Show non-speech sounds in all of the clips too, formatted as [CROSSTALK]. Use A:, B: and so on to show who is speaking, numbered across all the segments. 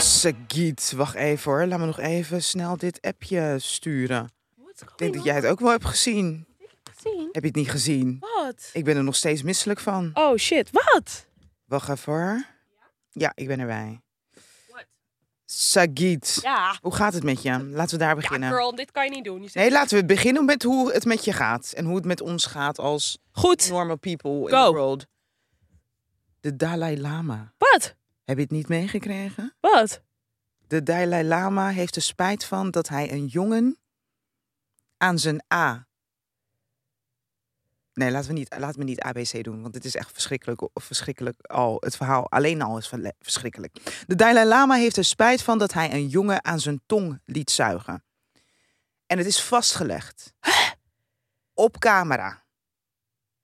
A: Sagiet, wacht even hoor. Laat me nog even snel dit appje sturen.
B: What's
A: Ik
B: going
A: denk dat
B: on?
A: jij het ook wel hebt gezien.
B: Gezien?
A: Heb je het niet gezien?
B: Wat?
A: Ik ben er nog steeds misselijk van.
B: Oh shit, wat?
A: Wacht even hoor. Ja, ik ben erbij.
B: Wat?
A: Sagiet,
B: Ja.
A: hoe gaat het met je? Laten we daar beginnen.
B: girl, dit kan je niet doen. Je zegt-
A: Nee, laten we beginnen met hoe het met je gaat. En hoe het met ons gaat als
B: Goed.
A: normal people in
B: Go.
A: the world. De Dalai Lama.
B: Wat?
A: Heb je het niet meegekregen?
B: Wat?
A: De Dalai Lama heeft er spijt van dat hij een jongen aan zijn A. Nee, laten we niet, laten we niet ABC doen, want dit is echt verschrikkelijk. verschrikkelijk al, het verhaal alleen al is verle- verschrikkelijk. De Dalai Lama heeft er spijt van dat hij een jongen aan zijn tong liet zuigen. En het is vastgelegd. Op camera.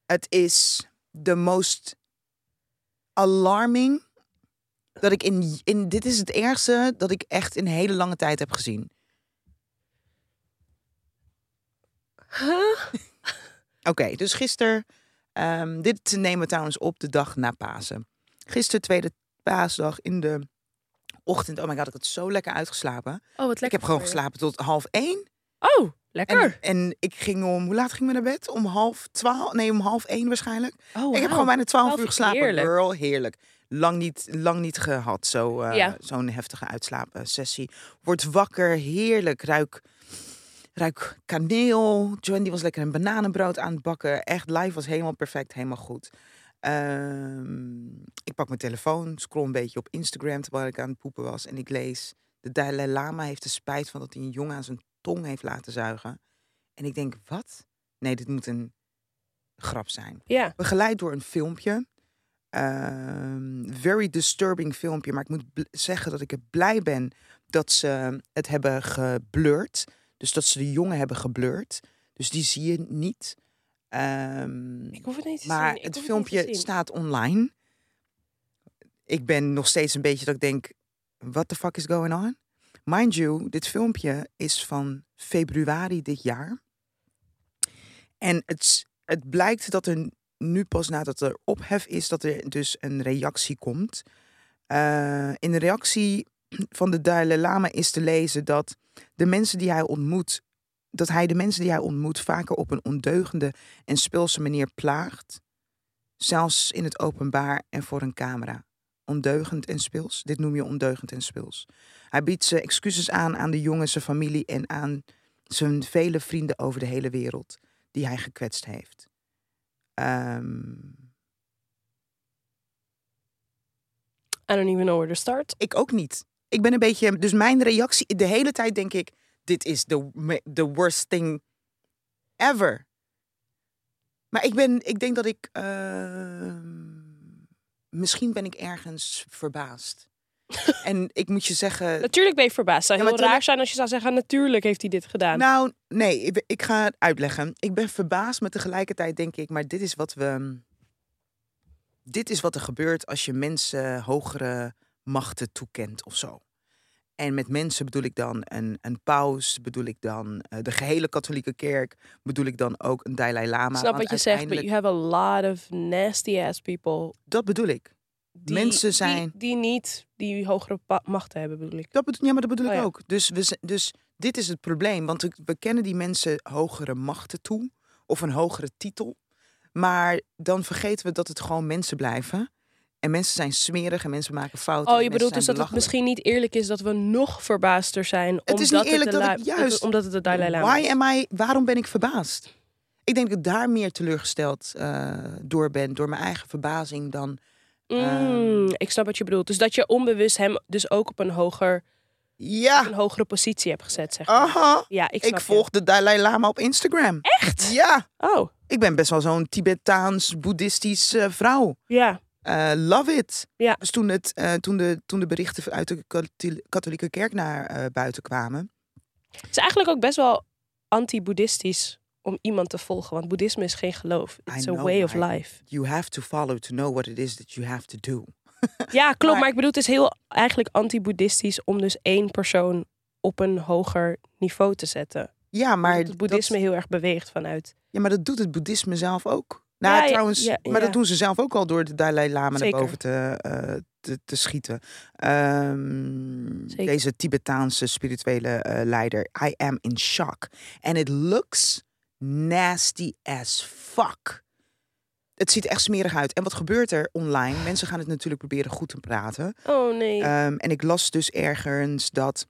A: Het is de most alarming dat ik in, in dit is het ergste dat ik echt in hele lange tijd heb gezien.
B: Huh?
A: Oké, dus gisteren, ehm, dit nemen we trouwens op de dag na Pasen. Gisteren, tweede paasdag in de ochtend. Oh my god, ik had zo lekker uitgeslapen.
B: Oh, wat lekker.
A: ik heb gewoon
B: voor je.
A: geslapen tot half één.
B: Oh, lekker.
A: En, en ik ging om, hoe laat gingen we naar bed? Om half twaalf, nee, om half één waarschijnlijk.
B: oh,
A: Ik
B: wauw.
A: heb gewoon bijna twaalf
B: Twaalf
A: uur geslapen.
B: heerlijk.
A: Girl, heerlijk. Lang niet, lang niet gehad, zo, eh,
B: Ja.
A: zo'n heftige uitslaapsessie. Word wakker, heerlijk. Ruik, ruik kaneel. Joanne die was lekker een bananenbrood aan het bakken. Echt, live was helemaal perfect, helemaal goed. Ehm, ik pak mijn telefoon, scroll een beetje op Instagram terwijl ik aan het poepen was. En ik lees, de Dalai Lama heeft er spijt van dat hij een jongen aan zijn tong heeft laten zuigen. En ik denk, wat? Nee, dit moet een grap zijn
B: Ja.
A: begeleid door een filmpje. Ehm, very disturbing filmpje. Maar ik moet bl- zeggen dat ik er blij ben dat ze het hebben geblurred. Dus dat ze de jongen hebben geblurred. Dus die zie je niet. Ehm,
B: Ik hoef het niet te
A: maar
B: zien. Ik
A: het
B: hoef niet te
A: filmpje
B: zien.
A: staat online. Ik ben nog steeds een beetje dat ik denk, what the fuck is going on? Mind you, dit filmpje is van februari dit jaar. En het, s- het blijkt dat er nu pas nadat er ophef is, dat er dus een reactie komt. Eh, in de reactie van de Dalai Lama is te lezen dat de mensen die hij ontmoet, dat hij de mensen die hij ontmoet vaker op een ondeugende en speelse manier plaagt. Zelfs in het openbaar en voor een camera. Ondeugend en speels. Dit noem je ondeugend en speels. Hij biedt ze excuses aan aan de jongen, zijn familie en aan zijn vele vrienden over de hele wereld die hij gekwetst heeft. Ehm,
B: I don't even know where to start.
A: ik ook niet. Ik ben een beetje. Dus mijn reactie. De hele tijd denk ik: dit is de me- the worst thing ever. Maar ik, ben, ik denk dat ik. ehm, misschien ben ik ergens verbaasd. en ik moet je zeggen.
B: Natuurlijk ben je verbaasd. Het zou
A: Eh, Ja,
B: heel
A: maar toen-
B: raar zijn als je zou zeggen, natuurlijk heeft hij dit gedaan.
A: Nou, nee, ik, ik ga het uitleggen. Ik ben verbaasd, maar tegelijkertijd denk ik, maar dit is wat we. mm, Dit is wat er gebeurt als je mensen hogere machten toekent of zo. En met mensen bedoel ik dan een, een paus, bedoel ik dan eh, de gehele katholieke kerk, bedoel ik dan ook een Dalai Lama.
B: ik snap
A: want
B: wat je zegt, but
A: uiteindelijk-
B: you have a lot of nasty ass people.
A: Dat bedoel ik.
B: Die,
A: Mensen
B: die-
A: zijn-
B: Die, niet, die hogere pa- machten hebben, bedoel ik.
A: Dat bedoel, ja, maar dat bedoel
B: Oh
A: ik
B: ja.
A: ook. Dus, we, z- dus dit is het probleem. Want ik- we kennen die mensen hogere machten toe. Of een hogere titel. Maar dan vergeten we dat het gewoon mensen blijven. En mensen zijn smerig en mensen maken fouten.
B: Oh,
A: en
B: je
A: mensen
B: bedoelt
A: zijn
B: dus dat het
A: belachelijk.
B: misschien niet eerlijk is dat we nog verbaasder zijn.
A: is niet
B: omdat
A: eerlijk
B: het de
A: dat
B: la-
A: ik juist-
B: Omdat het de Dalai Lama
A: Why
B: is.
A: am I, waarom ben ik verbaasd? Ik denk dat ik daar meer teleurgesteld eh, door ben. Door mijn eigen verbazing dan...
B: Mm,
A: Um.
B: ik snap wat je bedoelt. Dus dat je onbewust hem dus ook op een, hoger,
A: Ja,
B: een hogere positie hebt gezet, zeg maar.
A: aha.
B: Ja,
A: Ah.
B: ik
A: Oh. Ik,
B: snap je.
A: volg de Dalai Lama op Instagram.
B: Echt?
A: Ja,
B: Oh,
A: ik ben best wel zo'n Tibetaans-boeddhistisch eh, vrouw.
B: ja.
A: Eh, love it.
B: Ja.
A: Dus toen, het, eh, toen, de, toen de berichten uit de katholi- katholieke kerk naar eh, buiten kwamen.
B: Het is eigenlijk ook best wel anti-boeddhistisch om iemand te volgen. Want boeddhisme is geen geloof. It's a
A: know,
B: way of
A: right?
B: life.
A: You have to follow to know what it is that you have to do.
B: Ja, klopt.
A: Maar-
B: Maar ik bedoel, het is heel eigenlijk anti-boeddhistisch om dus één persoon op een hoger niveau te zetten.
A: Ja, maar,
B: Omdat het boeddhisme heel erg beweegt vanuit.
A: dat, ja, maar dat doet het boeddhisme zelf ook. Nou,
B: Ja, ja,
A: trouwens,
B: ja,
A: maar
B: ja.
A: dat doen ze zelf ook al door de Dalai Lama
B: Zeker.
A: naar boven te, eh, te, te schieten. Ehm,
B: Zeker.
A: deze Tibetaanse spirituele eh, leider. I am in shock. And it looks nasty as fuck. Het ziet er echt smerig uit. En wat gebeurt er online? Mensen gaan het natuurlijk proberen goed te praten.
B: Oh nee.
A: Ehm, en ik las dus ergens dat,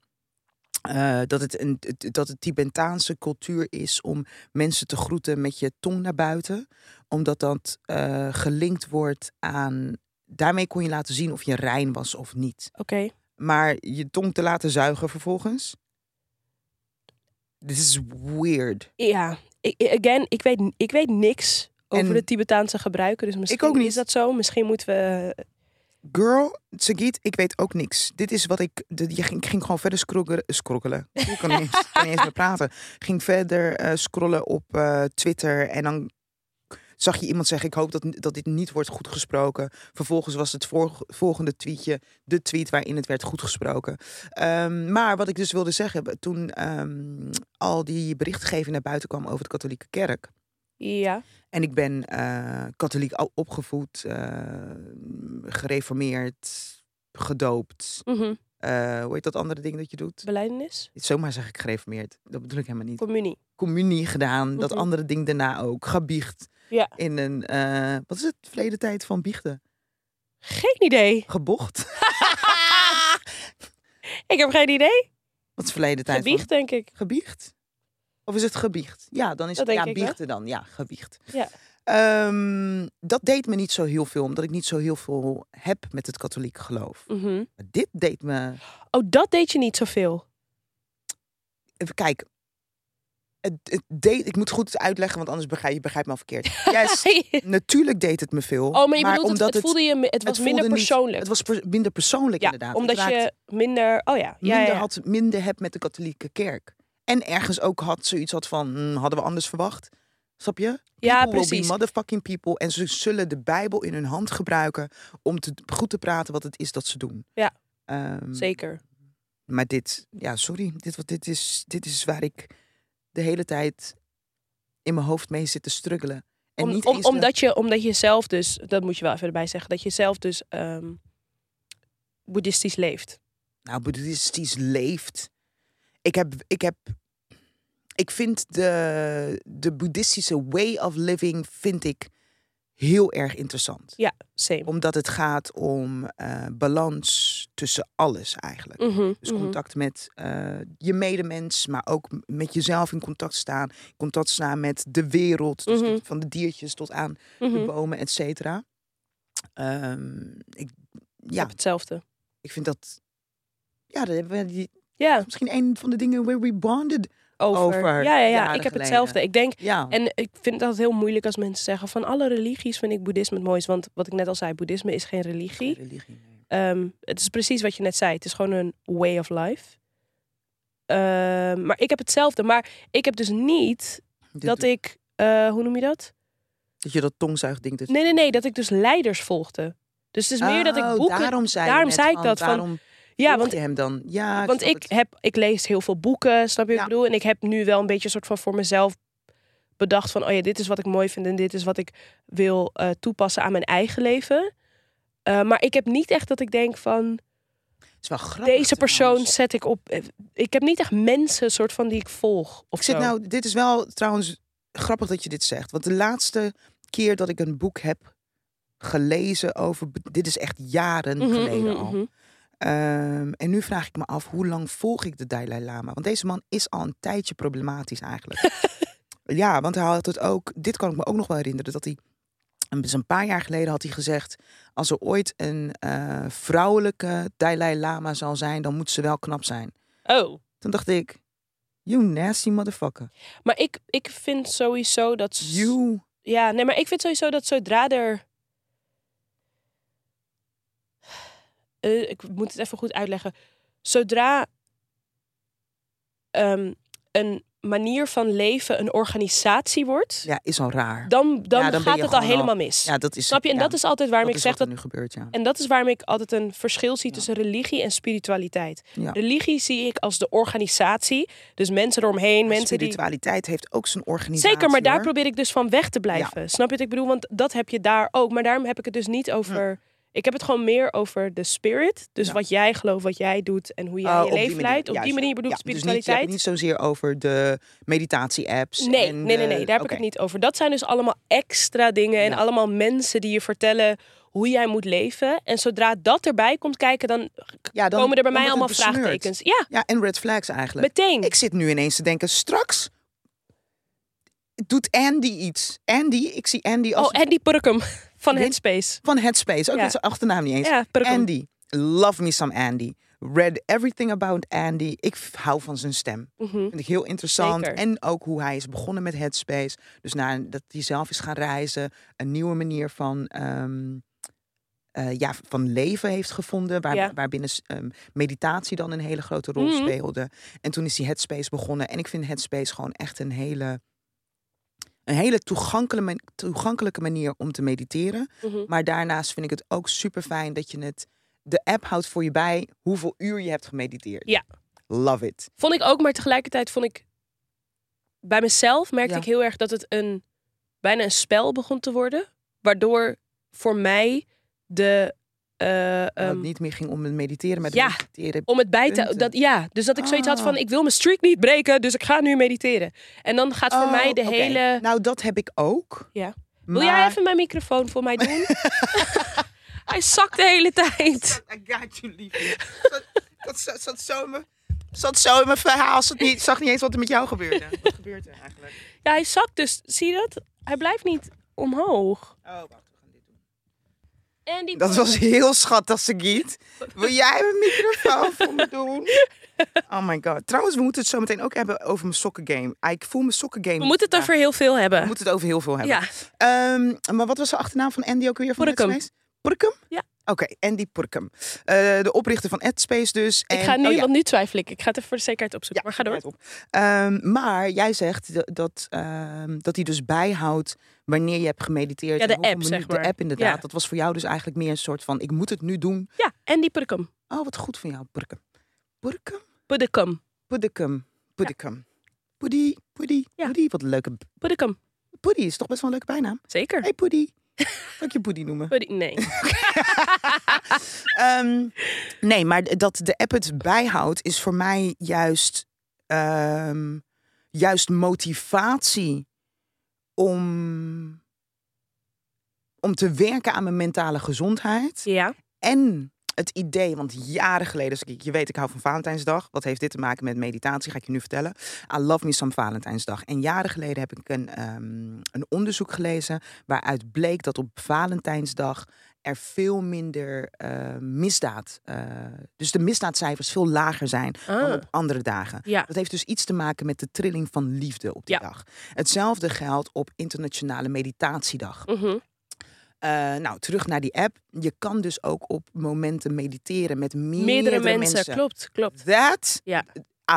A: eh, dat, het een, het- dat het Tibetaanse cultuur is om mensen te groeten met je tong naar buiten. Omdat dat eh, gelinkt wordt aan. Daarmee kon je laten zien of je rein was of niet.
B: Oké.
A: Maar je tong te laten zuigen vervolgens. Dit is weird.
B: Ja. Ik, again, ik weet, ik weet niks over
A: En-
B: de Tibetaanse gebruiken. Dus misschien
A: ook niet.
B: is dat zo. Misschien moeten we...
A: Girl, Sagit, ik weet ook niks. Dit is wat ik. De, je ging, ik ging gewoon verder scroggelen- scroggelen. Ik kan niet, eens- kan niet eens meer praten. Ging verder eh, scrollen op eh, Twitter. En dan zag je iemand zeggen: Ik hoop dat, dat dit niet wordt goed gesproken. Vervolgens was het vorg- volgende tweetje de tweet waarin het werd goed gesproken. Ehm, maar wat ik dus wilde zeggen, toen ehm, al die berichtgeving naar buiten kwam over de katholieke kerk.
B: eh, Ja.
A: En ik ben eh, katholiek o- opgevoed, eh, gereformeerd, gedoopt.
B: Mhm.
A: Eh, hoe heet dat andere ding dat je doet?
B: Belijdenis?
A: Zomaar zeg ik gereformeerd. Dat bedoel ik helemaal niet.
B: Communie.
A: Communie gedaan, dat
B: Mhm.
A: andere ding daarna ook. Gebiecht.
B: Ja.
A: In een, eh, wat is het, verleden tijd van biechten?
B: Geen idee.
A: Gebocht.
B: [LAUGHS] Ik heb geen idee.
A: Wat is verleden tijd
B: Gebiecht, denk ik.
A: van? Gebiecht? Of is het gebiecht? Ja, dan is
B: Dat
A: het
B: denk
A: ja,
B: ik wel.
A: biechten dan. Ja, gebiecht.
B: Ja.
A: Ehm, dat deed me niet zo heel veel, omdat ik niet zo heel veel heb met het katholieke geloof.
B: Mhm.
A: Maar dit deed me.
B: Oh, dat deed je niet zoveel.
A: Even kijken. Het, het deed, ik moet goed uitleggen, want anders begrijp je begrijpt me al
B: [LAUGHS]
A: verkeerd. Yes, natuurlijk deed het me veel.
B: Oh, maar je bedoelt,
A: omdat
B: het, het voelde je... mi- Het
A: het
B: was minder
A: voelde niet-
B: persoonlijk.
A: het was per- minder persoonlijk,
B: ja,
A: inderdaad. Ik
B: omdat
A: raakte
B: je minder... Oh ja. ja,
A: minder
B: ja, ja.
A: had, minder heb met de katholieke kerk. En ergens ook had zoiets had van, "Hmm, hadden we anders verwacht? Snap je?
B: Ja,
A: People will be
B: precies.
A: motherfucking people. En ze zullen de Bijbel in hun hand gebruiken om te, goed te praten wat het is dat ze doen.
B: Ja.
A: Ehm,
B: Zeker.
A: Maar dit, ja, sorry. Dit, wat- dit, is, dit is waar ik de hele tijd in mijn hoofd mee zit te struggelen. En
B: Om-
A: niet
B: om-
A: eens de-
B: omdat, je, omdat je zelf dus, dat moet je wel even erbij zeggen, dat je zelf dus ehm, boeddhistisch leeft.
A: Nou, boeddhistisch leeft. Ik heb, ik heb, ik vind de, de boeddhistische way of living vind ik heel erg interessant.
B: Ja, same.
A: Omdat het gaat om eh, balans tussen alles eigenlijk.
B: Mhm,
A: Dus
B: mhm.
A: contact met eh, je medemens, maar ook m- met jezelf in contact staan. Contact staan met de wereld, dus
B: Mhm.
A: tot- van de diertjes tot aan de
B: Mhm.
A: bomen, et cetera. Ehm, ik,
B: Ik
A: ja,
B: heb hetzelfde.
A: ik vind dat... Ja, daar hebben we die,
B: Ja,
A: misschien een van de dingen where we bonded.
B: over.
A: Over
B: Ja, ja, ja.
A: jaren
B: Ik heb
A: geleden.
B: hetzelfde. Ik denk,
A: Ja,
B: en ik vind dat heel moeilijk als mensen zeggen van alle religies vind ik boeddhisme het mooist. Want wat ik net al zei, boeddhisme is geen religie.
A: religie. nee.
B: Ehm, het is precies wat je net zei. Het is gewoon een way of life. Ehm, maar ik heb hetzelfde. Maar ik heb dus niet
A: Dit-
B: dat ik, eh, hoe noem je dat?
A: dat je dat tongzuigding... Dus...
B: Nee, nee, nee, dat ik dus leiders volgde. Dus het is meer dat ik
A: Oh,
B: boeken.
A: Daarom zei, je
B: daarom
A: net
B: zei ik
A: van,
B: dat van-
A: Waarom
B: ja,
A: want
B: want,
A: je hem dan? Ja,
B: want
A: snap
B: ik,
A: het.
B: heb, ik lees heel veel boeken, snap je wat
A: Ja.
B: ik bedoel? En ik heb nu wel een beetje een soort van voor mezelf bedacht van... oh ja, dit is wat ik mooi vind en dit is wat ik wil eh, toepassen aan mijn eigen leven. Eh, maar ik heb niet echt dat ik denk van...
A: Het is wel grappig nou
B: deze persoon
A: trouwens.
B: zet ik op... eh, Ik heb niet echt mensen soort van die ik volg of
A: Ik zit
B: zo.
A: nou, dit is wel trouwens grappig dat je dit zegt. Want de laatste keer dat ik een boek heb gelezen over... be- Dit is echt jaren
B: Mhm,
A: geleden
B: mhm,
A: al.
B: mhm.
A: Ehm, en nu vraag ik me af, hoe lang volg ik de Dalai Lama? Want deze man is al een tijdje problematisch
B: [LAUGHS]
A: eigenlijk. ja, want hij had het ook... Dit kan ik me ook nog wel herinneren, dat hij... een- dus een paar jaar geleden had hij gezegd... als er ooit een eh, vrouwelijke Dalai Lama zal zijn... dan moet ze wel knap zijn.
B: Oh,
A: Toen dacht ik... You nasty motherfucker.
B: maar ik, ik vind sowieso dat... s-
A: You...
B: Ja, nee, maar ik vind sowieso dat zodra er. Eh, ik moet het even goed uitleggen. Zodra ehm, een manier van leven een organisatie wordt,
A: Ja, is al raar.
B: dan, dan,
A: Ja, dan ben
B: gaat
A: je
B: het al
A: gewoon al-
B: helemaal mis.
A: ja, dat is,
B: Snap je? En
A: ja,
B: dat is altijd waarom
A: dat
B: ik
A: is
B: zeg
A: wat er
B: dat.
A: nu gebeurt, ja.
B: En dat is waarom ik altijd een verschil zie
A: Ja.
B: tussen religie en spiritualiteit.
A: Ja.
B: Religie zie ik als de organisatie. Dus mensen eromheen,
A: Maar
B: mensen die.
A: Spiritualiteit heeft ook zijn organisatie.
B: Zeker, maar daar
A: hoor.
B: probeer ik dus van weg te blijven. Snap je wat ik bedoel? Want dat heb je daar ook. Maar daarom heb ik het dus niet over. Ik heb het gewoon meer over de spirit. Dus
A: Ja.
B: wat jij gelooft, wat jij doet en hoe jij
A: Oh,
B: je
A: op die
B: leven
A: manier,
B: leidt. Op
A: juist,
B: die manier
A: ja.
B: bedoel ik
A: Ja, Dus niet, je hebt
B: spiritualiteit.
A: het niet zozeer over de meditatie-apps.
B: Nee,
A: en
B: nee, nee,
A: de-
B: nee, daar heb ik
A: Oké.
B: het niet over. Dat zijn dus allemaal extra dingen en
A: Ja.
B: allemaal mensen die je vertellen hoe jij moet leven. En zodra dat erbij komt kijken, dan,
A: Ja, dan-
B: komen er bij
A: dan
B: mij
A: wordt
B: allemaal
A: het besmeurd.
B: vraagtekens. Ja,
A: Ja, en red flags eigenlijk.
B: meteen.
A: Ik zit nu ineens te denken, straks doet Andy iets. Andy, ik zie Andy als
B: Oh, Andy Purkum van
A: Weet-
B: Headspace.
A: van Headspace. Ook
B: Ja.
A: met zijn achternaam niet eens.
B: Ja, Purkum.
A: Andy, love me some Andy. Read everything about Andy. Ik f- hou van zijn stem.
B: Mhm.
A: Vind ik heel interessant.
B: Zeker.
A: En ook hoe hij is begonnen met Headspace. Dus nadat hij zelf is gaan reizen. Een nieuwe manier van, ehm, eh, ja, van leven heeft gevonden. Waar,
B: Ja.
A: Waarbinnen s- ehm, meditatie dan een hele grote rol
B: Mhm.
A: speelde. En toen is hij Headspace begonnen. En ik vind Headspace gewoon echt een hele... Een hele toegankelijke man- toegankelijke manier om te mediteren.
B: Mhm.
A: Maar daarnaast vind ik het ook super fijn dat je het. De app houdt voor je bij hoeveel uur je hebt gemediteerd.
B: Ja.
A: Love it.
B: Vond ik ook, maar tegelijkertijd vond ik... Bij mezelf merkte
A: Ja.
B: ik heel erg dat het een, bijna een spel begon te worden. Waardoor voor mij de... eh,
A: Dat het
B: ehm,
A: niet meer ging om het mediteren, maar het
B: ja.
A: mediteren.
B: om het bij te...
A: Punten.
B: Dat, ja, dus dat ik zoiets had van,
A: Ah.
B: ik wil mijn streak niet breken, dus ik ga nu mediteren. En dan gaat voor
A: Oh,
B: mij de
A: oké.
B: hele...
A: Nou, dat heb ik ook.
B: Ja.
A: Maar...
B: Wil jij even mijn microfoon voor
A: [LAUGHS]
B: mij doen? [LAUGHS] Hij zakt de hele tijd.
A: I got you, liefie. Dat- Dat zat, zat zo in mijn- zat zo in mijn verhaal. Zat niet, zag niet eens wat er met jou gebeurde. Wat gebeurt er eigenlijk?
B: Ja, hij zakt dus. Zie je dat? Hij blijft niet omhoog.
A: Oh, wacht. we gaan dit doen.
B: En die
A: Dat was heel schattig, Sagiet. Wil jij mijn microfoon voor me doen? Oh my god. Trouwens, we moeten het zo meteen ook hebben over mijn sokkengame. Ah, Ik voel mijn sokkengame.
B: We moeten het
A: vandaag.
B: over heel veel
A: We
B: hebben.
A: moeten het over heel veel hebben.
B: Ja,
A: Ehm, maar wat was de achternaam van Andy ook weer? Van
B: Purkum.
A: Headspace? Purkum?
B: Ja.
A: Oké, Andy Purkum. Eh, de oprichter van Headspace dus. En,
B: ik ga nu,
A: oh ja,
B: want nu twijfel ik. Ik ga het even voor de zekerheid opzoeken. maar ga door.
A: let op. Ehm, maar jij zegt d- dat, ehm, dat hij dus bijhoudt wanneer je hebt gemediteerd.
B: Ja, de
A: en hoeveel
B: app, zeg
A: minuten-
B: maar.
A: De app inderdaad.
B: Ja.
A: Dat was voor jou dus eigenlijk meer een soort van ik moet het nu doen
B: Ja, en die Purkum.
A: Oh, wat goed van jou, Purkum. Purkum?
B: Purkum.
A: Puddekum. Puddekum. Poedie, poedie,
B: Ja.
A: poedie. Wat een leuke... b-
B: Purkum.
A: Poedie is toch best wel een leuke bijnaam?
B: Zeker.
A: hey, poedie. Zal ik je poedie noemen?
B: Puddy- Nee.
A: Ehm, nee, maar d- dat de app het bijhoudt is voor mij juist, ehm, juist motivatie om, om te werken aan mijn mentale gezondheid.
B: [LAUGHS] Ja.
A: En het idee, want jaren geleden, dus ik, je weet, ik hou van Valentijnsdag. Wat heeft dit te maken met meditatie? Ga ik je nu vertellen. I love me some Valentijnsdag. En jaren geleden heb ik een, ehm, een onderzoek gelezen. waaruit bleek dat op Valentijnsdag er veel minder eh, misdaad. eh, dus de misdaadcijfers veel lager zijn dan
B: Ah.
A: op andere dagen.
B: Ja.
A: Dat heeft dus iets te maken met de trilling van liefde op die
B: Ja.
A: dag. Hetzelfde geldt op Internationale Meditatiedag.
B: Mhm.
A: Eh, nou, terug naar die app. Je kan dus ook op momenten mediteren met meerdere,
B: Meerdere mensen. Klopt, klopt.
A: That,
B: Ja.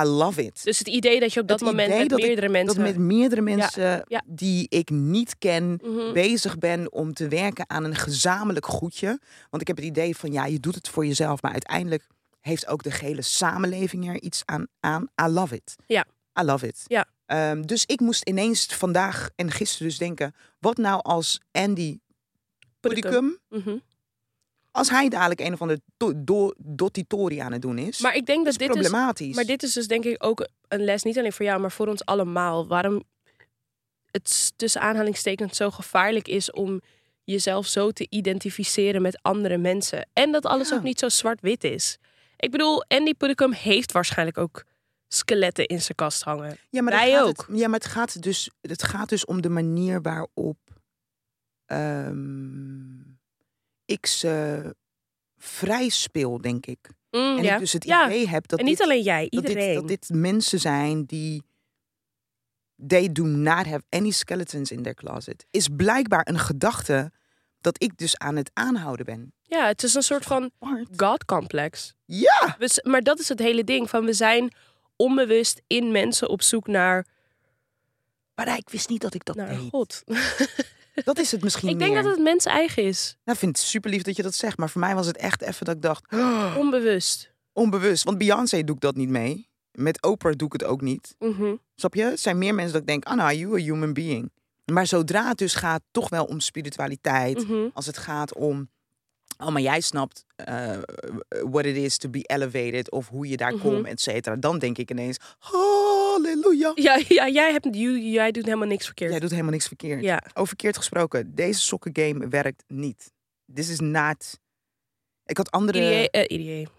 A: I love it.
B: Dus het idee dat je op dat,
A: Het
B: moment
A: idee
B: met
A: dat ik-
B: meerdere mensen...
A: Dat met meerdere mensen
B: ja.
A: die ik niet ken
B: Mhm.
A: bezig ben om te werken aan een gezamenlijk goedje. Want ik heb het idee van, ja, je doet het voor jezelf, maar uiteindelijk heeft ook de gele samenleving er iets aan. aan. I love it.
B: Ja.
A: I love it.
B: Ja.
A: Ehm, dus ik moest ineens vandaag en gisteren dus denken, wat nou als Andy
B: Puddekum.
A: Pudicum
B: Mhm.
A: als hij dadelijk een of andere do, do, dotitori aan het doen is,
B: Maar ik denk dat,
A: is
B: dit is...
A: problematisch.
B: Maar dit is dus denk ik ook een les, niet alleen voor jou, maar voor ons allemaal. Waarom het s- tussen aanhalingstekens zo gevaarlijk is om jezelf zo te identificeren met andere mensen. En dat alles
A: Ja.
B: ook niet zo zwart-wit is. Ik bedoel, Andy Puddicum heeft waarschijnlijk ook skeletten in zijn kast hangen.
A: ja, maar
B: wij
A: dan gaat
B: ook.
A: Het, ja, maar het gaat, dus, het gaat dus om de manier waarop ehm, ik ze vrij speel, denk ik.
B: Mm,
A: En
B: ja.
A: ik dus het
B: Ja.
A: idee heb dat
B: en niet
A: dit,
B: alleen jij,
A: dat, dit,
B: iedereen.
A: dat dit mensen zijn die... They do not have any skeletons in their closet. Is blijkbaar een gedachte dat ik dus aan het aanhouden ben.
B: Ja, het is een soort van
A: Bart.
B: God-complex.
A: Ja!
B: We, s- maar dat is het hele ding. Van we zijn onbewust in mensen op zoek naar,
A: Maar ik wist niet dat ik dat
B: naar
A: deed.
B: God. [LAUGHS]
A: Dat is het misschien
B: Ik denk
A: meer.
B: dat het mens eigen is.
A: Nou, ik vind het super lief dat je dat zegt. Maar voor mij was het echt even dat ik dacht, [GASPS] "Oh,
B: Onbewust.
A: onbewust. Want Beyoncé doe ik dat niet mee. Met Oprah doe ik het ook niet.
B: Mhm.
A: Snap je? Het zijn meer mensen dat ik denk, ah nou, you a human being. Maar zodra het dus gaat toch wel om spiritualiteit.
B: Mhm.
A: Als het gaat om Oh, maar jij snapt eh what it is to be elevated of hoe je daar
B: Mhm.
A: komt, et cetera. Dan denk ik ineens, halleluja.
B: Ja, ja jij, hebt, jij- jij doet helemaal niks verkeerd.
A: Jij doet helemaal niks verkeerd.
B: Ja.
A: Over verkeerd gesproken, deze sokkengame werkt niet. This is not... Ik had andere...
B: IDA. eh,
A: [LAUGHS]
B: IDA.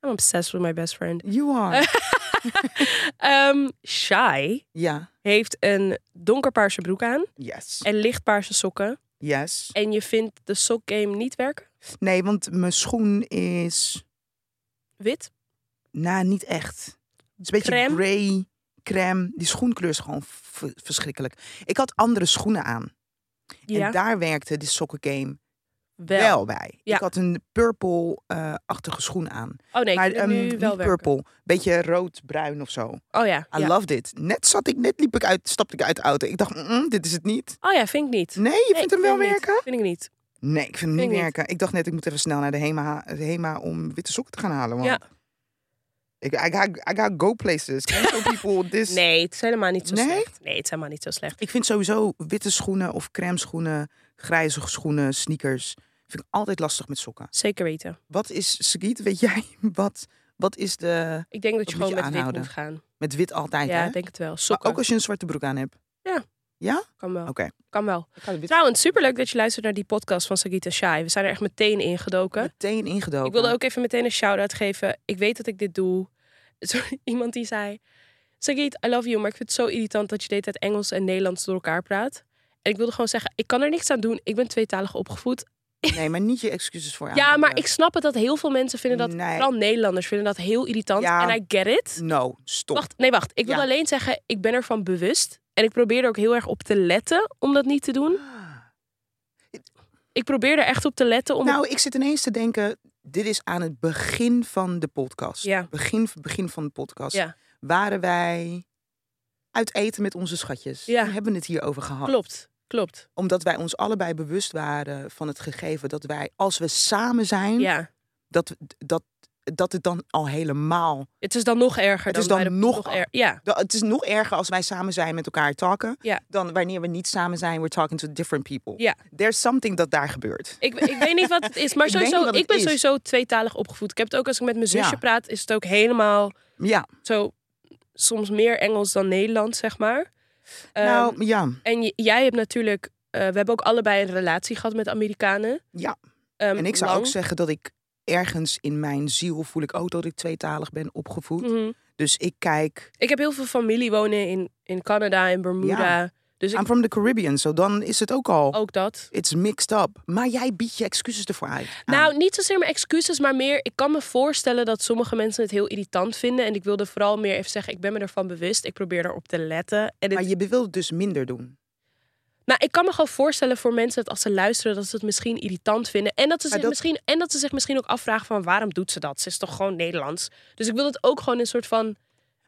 B: I'm obsessed with my best friend.
A: You are.
B: [LAUGHS] Ehm Shai
A: ja.
B: heeft een donkerpaarse broek aan
A: Yes.
B: en lichtpaarse sokken.
A: Yes.
B: En je vindt de sokgame niet werken?
A: Nee, want mijn schoen is...
B: Wit?
A: Nou, niet echt. Het is een beetje
B: Crème?
A: grey, crème. Die schoenkleur is gewoon v- verschrikkelijk. Ik had andere schoenen aan.
B: Ja,
A: En daar werkte die sokkengame
B: wel.
A: wel bij.
B: Ja.
A: Ik had een purple-achtige schoen aan.
B: Oh nee,
A: maar
B: ik vind het
A: ehm,
B: nu wel
A: niet
B: werken.
A: purple. Beetje rood-bruin of zo.
B: Oh ja,
A: I
B: ja.
A: loved it. Net zat ik, net liep ik uit, stapte ik uit de auto. Ik dacht, "Mm, mm, dit is het niet.
B: Oh ja, vind ik niet.
A: Nee, je
B: Nee,
A: vindt hem wel
B: vind ik niet.
A: werken?
B: Vind ik niet.
A: Nee, ik vind hem
B: Vind
A: niet
B: ik niet.
A: werken. Ik dacht net, ik moet even snel naar de HEMA, de HEMA om witte sokken te gaan halen. Want
B: Ja.
A: ik, I, got, I got go places. Cancel
B: [LAUGHS]
A: people this.
B: Nee, het is helemaal niet zo
A: Dus- Nee?
B: slecht. Nee, het is helemaal niet zo slecht.
A: Ik vind sowieso witte schoenen of crème schoenen, grijze schoenen, sneakers. Vind ik altijd lastig met sokken.
B: Zeker weten.
A: Wat is, Sagiet, weet jij, [LAUGHS] wat, wat is de...
B: Ik denk dat
A: Dat
B: je
A: moet
B: gewoon
A: je
B: met wit
A: aanhouden.
B: moet gaan.
A: Met wit altijd,
B: Ja,
A: hè?
B: ik denk het wel.
A: Maar
B: Sokken.
A: ook als je een zwarte broek aan hebt.
B: Kan wel.
A: Oké.
B: Kan wel.
A: Ik ga de wit
B: Trouwens, superleuk dat je luistert naar die podcast van Sagita Shai. We zijn er echt meteen in gedoken.
A: meteen ingedoken.
B: Nou, Ik wilde ook even meteen een shout-out geven. Ik weet dat ik dit doe. [LAUGHS] Zo, Iemand die zei... Sagit, I love you, maar ik vind het zo irritant dat je de hele tijd Engels en Nederlands door elkaar praat. En ik wilde gewoon zeggen, ik kan er niks aan doen. Ik ben tweetalig opgevoed.
A: Nee, maar niet je excuses voor
B: Ja, maar
A: aanbieden.
B: ik snap het dat heel veel mensen vinden dat...
A: Nee.
B: Vooral Nederlanders vinden dat heel irritant.
A: Ja.
B: En I get it.
A: No, stop.
B: Wacht, nee, wacht. Ik wil
A: Ja.
B: alleen zeggen, ik ben ervan bewust. En ik probeer er ook heel erg op te letten om dat niet te doen. Ik probeer er echt op te letten om...
A: Nou, ik zit ineens te denken, dit is aan het begin van de podcast.
B: Ja.
A: Begin, begin van de podcast.
B: Ja.
A: Waren wij uit eten met onze schatjes.
B: Ja.
A: We hebben het hierover gehad.
B: Klopt, klopt.
A: Omdat wij ons allebei bewust waren van het gegeven dat wij, als we samen zijn,
B: Ja.
A: dat, dat, dat het dan al helemaal...
B: Het is dan nog erger.
A: Het is
B: bij
A: dan
B: de-
A: nog
B: erger. Ja,
A: dat- Het is nog erger als wij samen zijn met elkaar talken,
B: Ja.
A: dan wanneer we niet samen zijn, we're talking to different people.
B: ja.
A: There's something dat daar gebeurt.
B: Ik, ik weet niet wat het
A: [LAUGHS]
B: is, maar
A: Ik weet
B: sowieso,
A: niet wat het
B: ik ben
A: is.
B: sowieso tweetalig opgevoed. Ik heb het ook als ik met mijn zusje
A: Ja.
B: praat, is het ook helemaal
A: Ja,
B: zo soms meer Engels dan Nederlands, zeg maar. Ehm,
A: nou ja.
B: en j- jij hebt natuurlijk, eh, we hebben ook allebei een relatie gehad met Amerikanen.
A: Ja.
B: Ehm,
A: En ik zou
B: lang.
A: ook zeggen dat ik ergens in mijn ziel voel ik ook dat ik tweetalig ben opgevoed.
B: Mhm.
A: Dus ik kijk.
B: Ik heb heel veel familie wonen in, in Canada, in Bermuda. Dus ik, Oh.
A: I'm from the Caribbean, zo dan is het ook al.
B: ook dat.
A: It's mixed up. Maar jij biedt je excuses ervoor uit. aan.
B: Nou, niet zozeer mijn excuses, maar meer. Ik kan me voorstellen dat sommige mensen het heel irritant vinden. En ik wilde vooral meer even zeggen: ik ben me ervan bewust. Ik probeer erop te letten. En het
A: maar je wil het dus minder doen.
B: Nou, ik kan me gewoon voorstellen voor mensen dat als ze luisteren, dat ze het misschien irritant vinden. En dat ze,
A: Maar
B: zich,
A: dat-
B: Misschien, en dat ze zich misschien ook afvragen van waarom doet ze dat? Ze is toch gewoon Nederlands? Dus ik wil het ook gewoon een soort van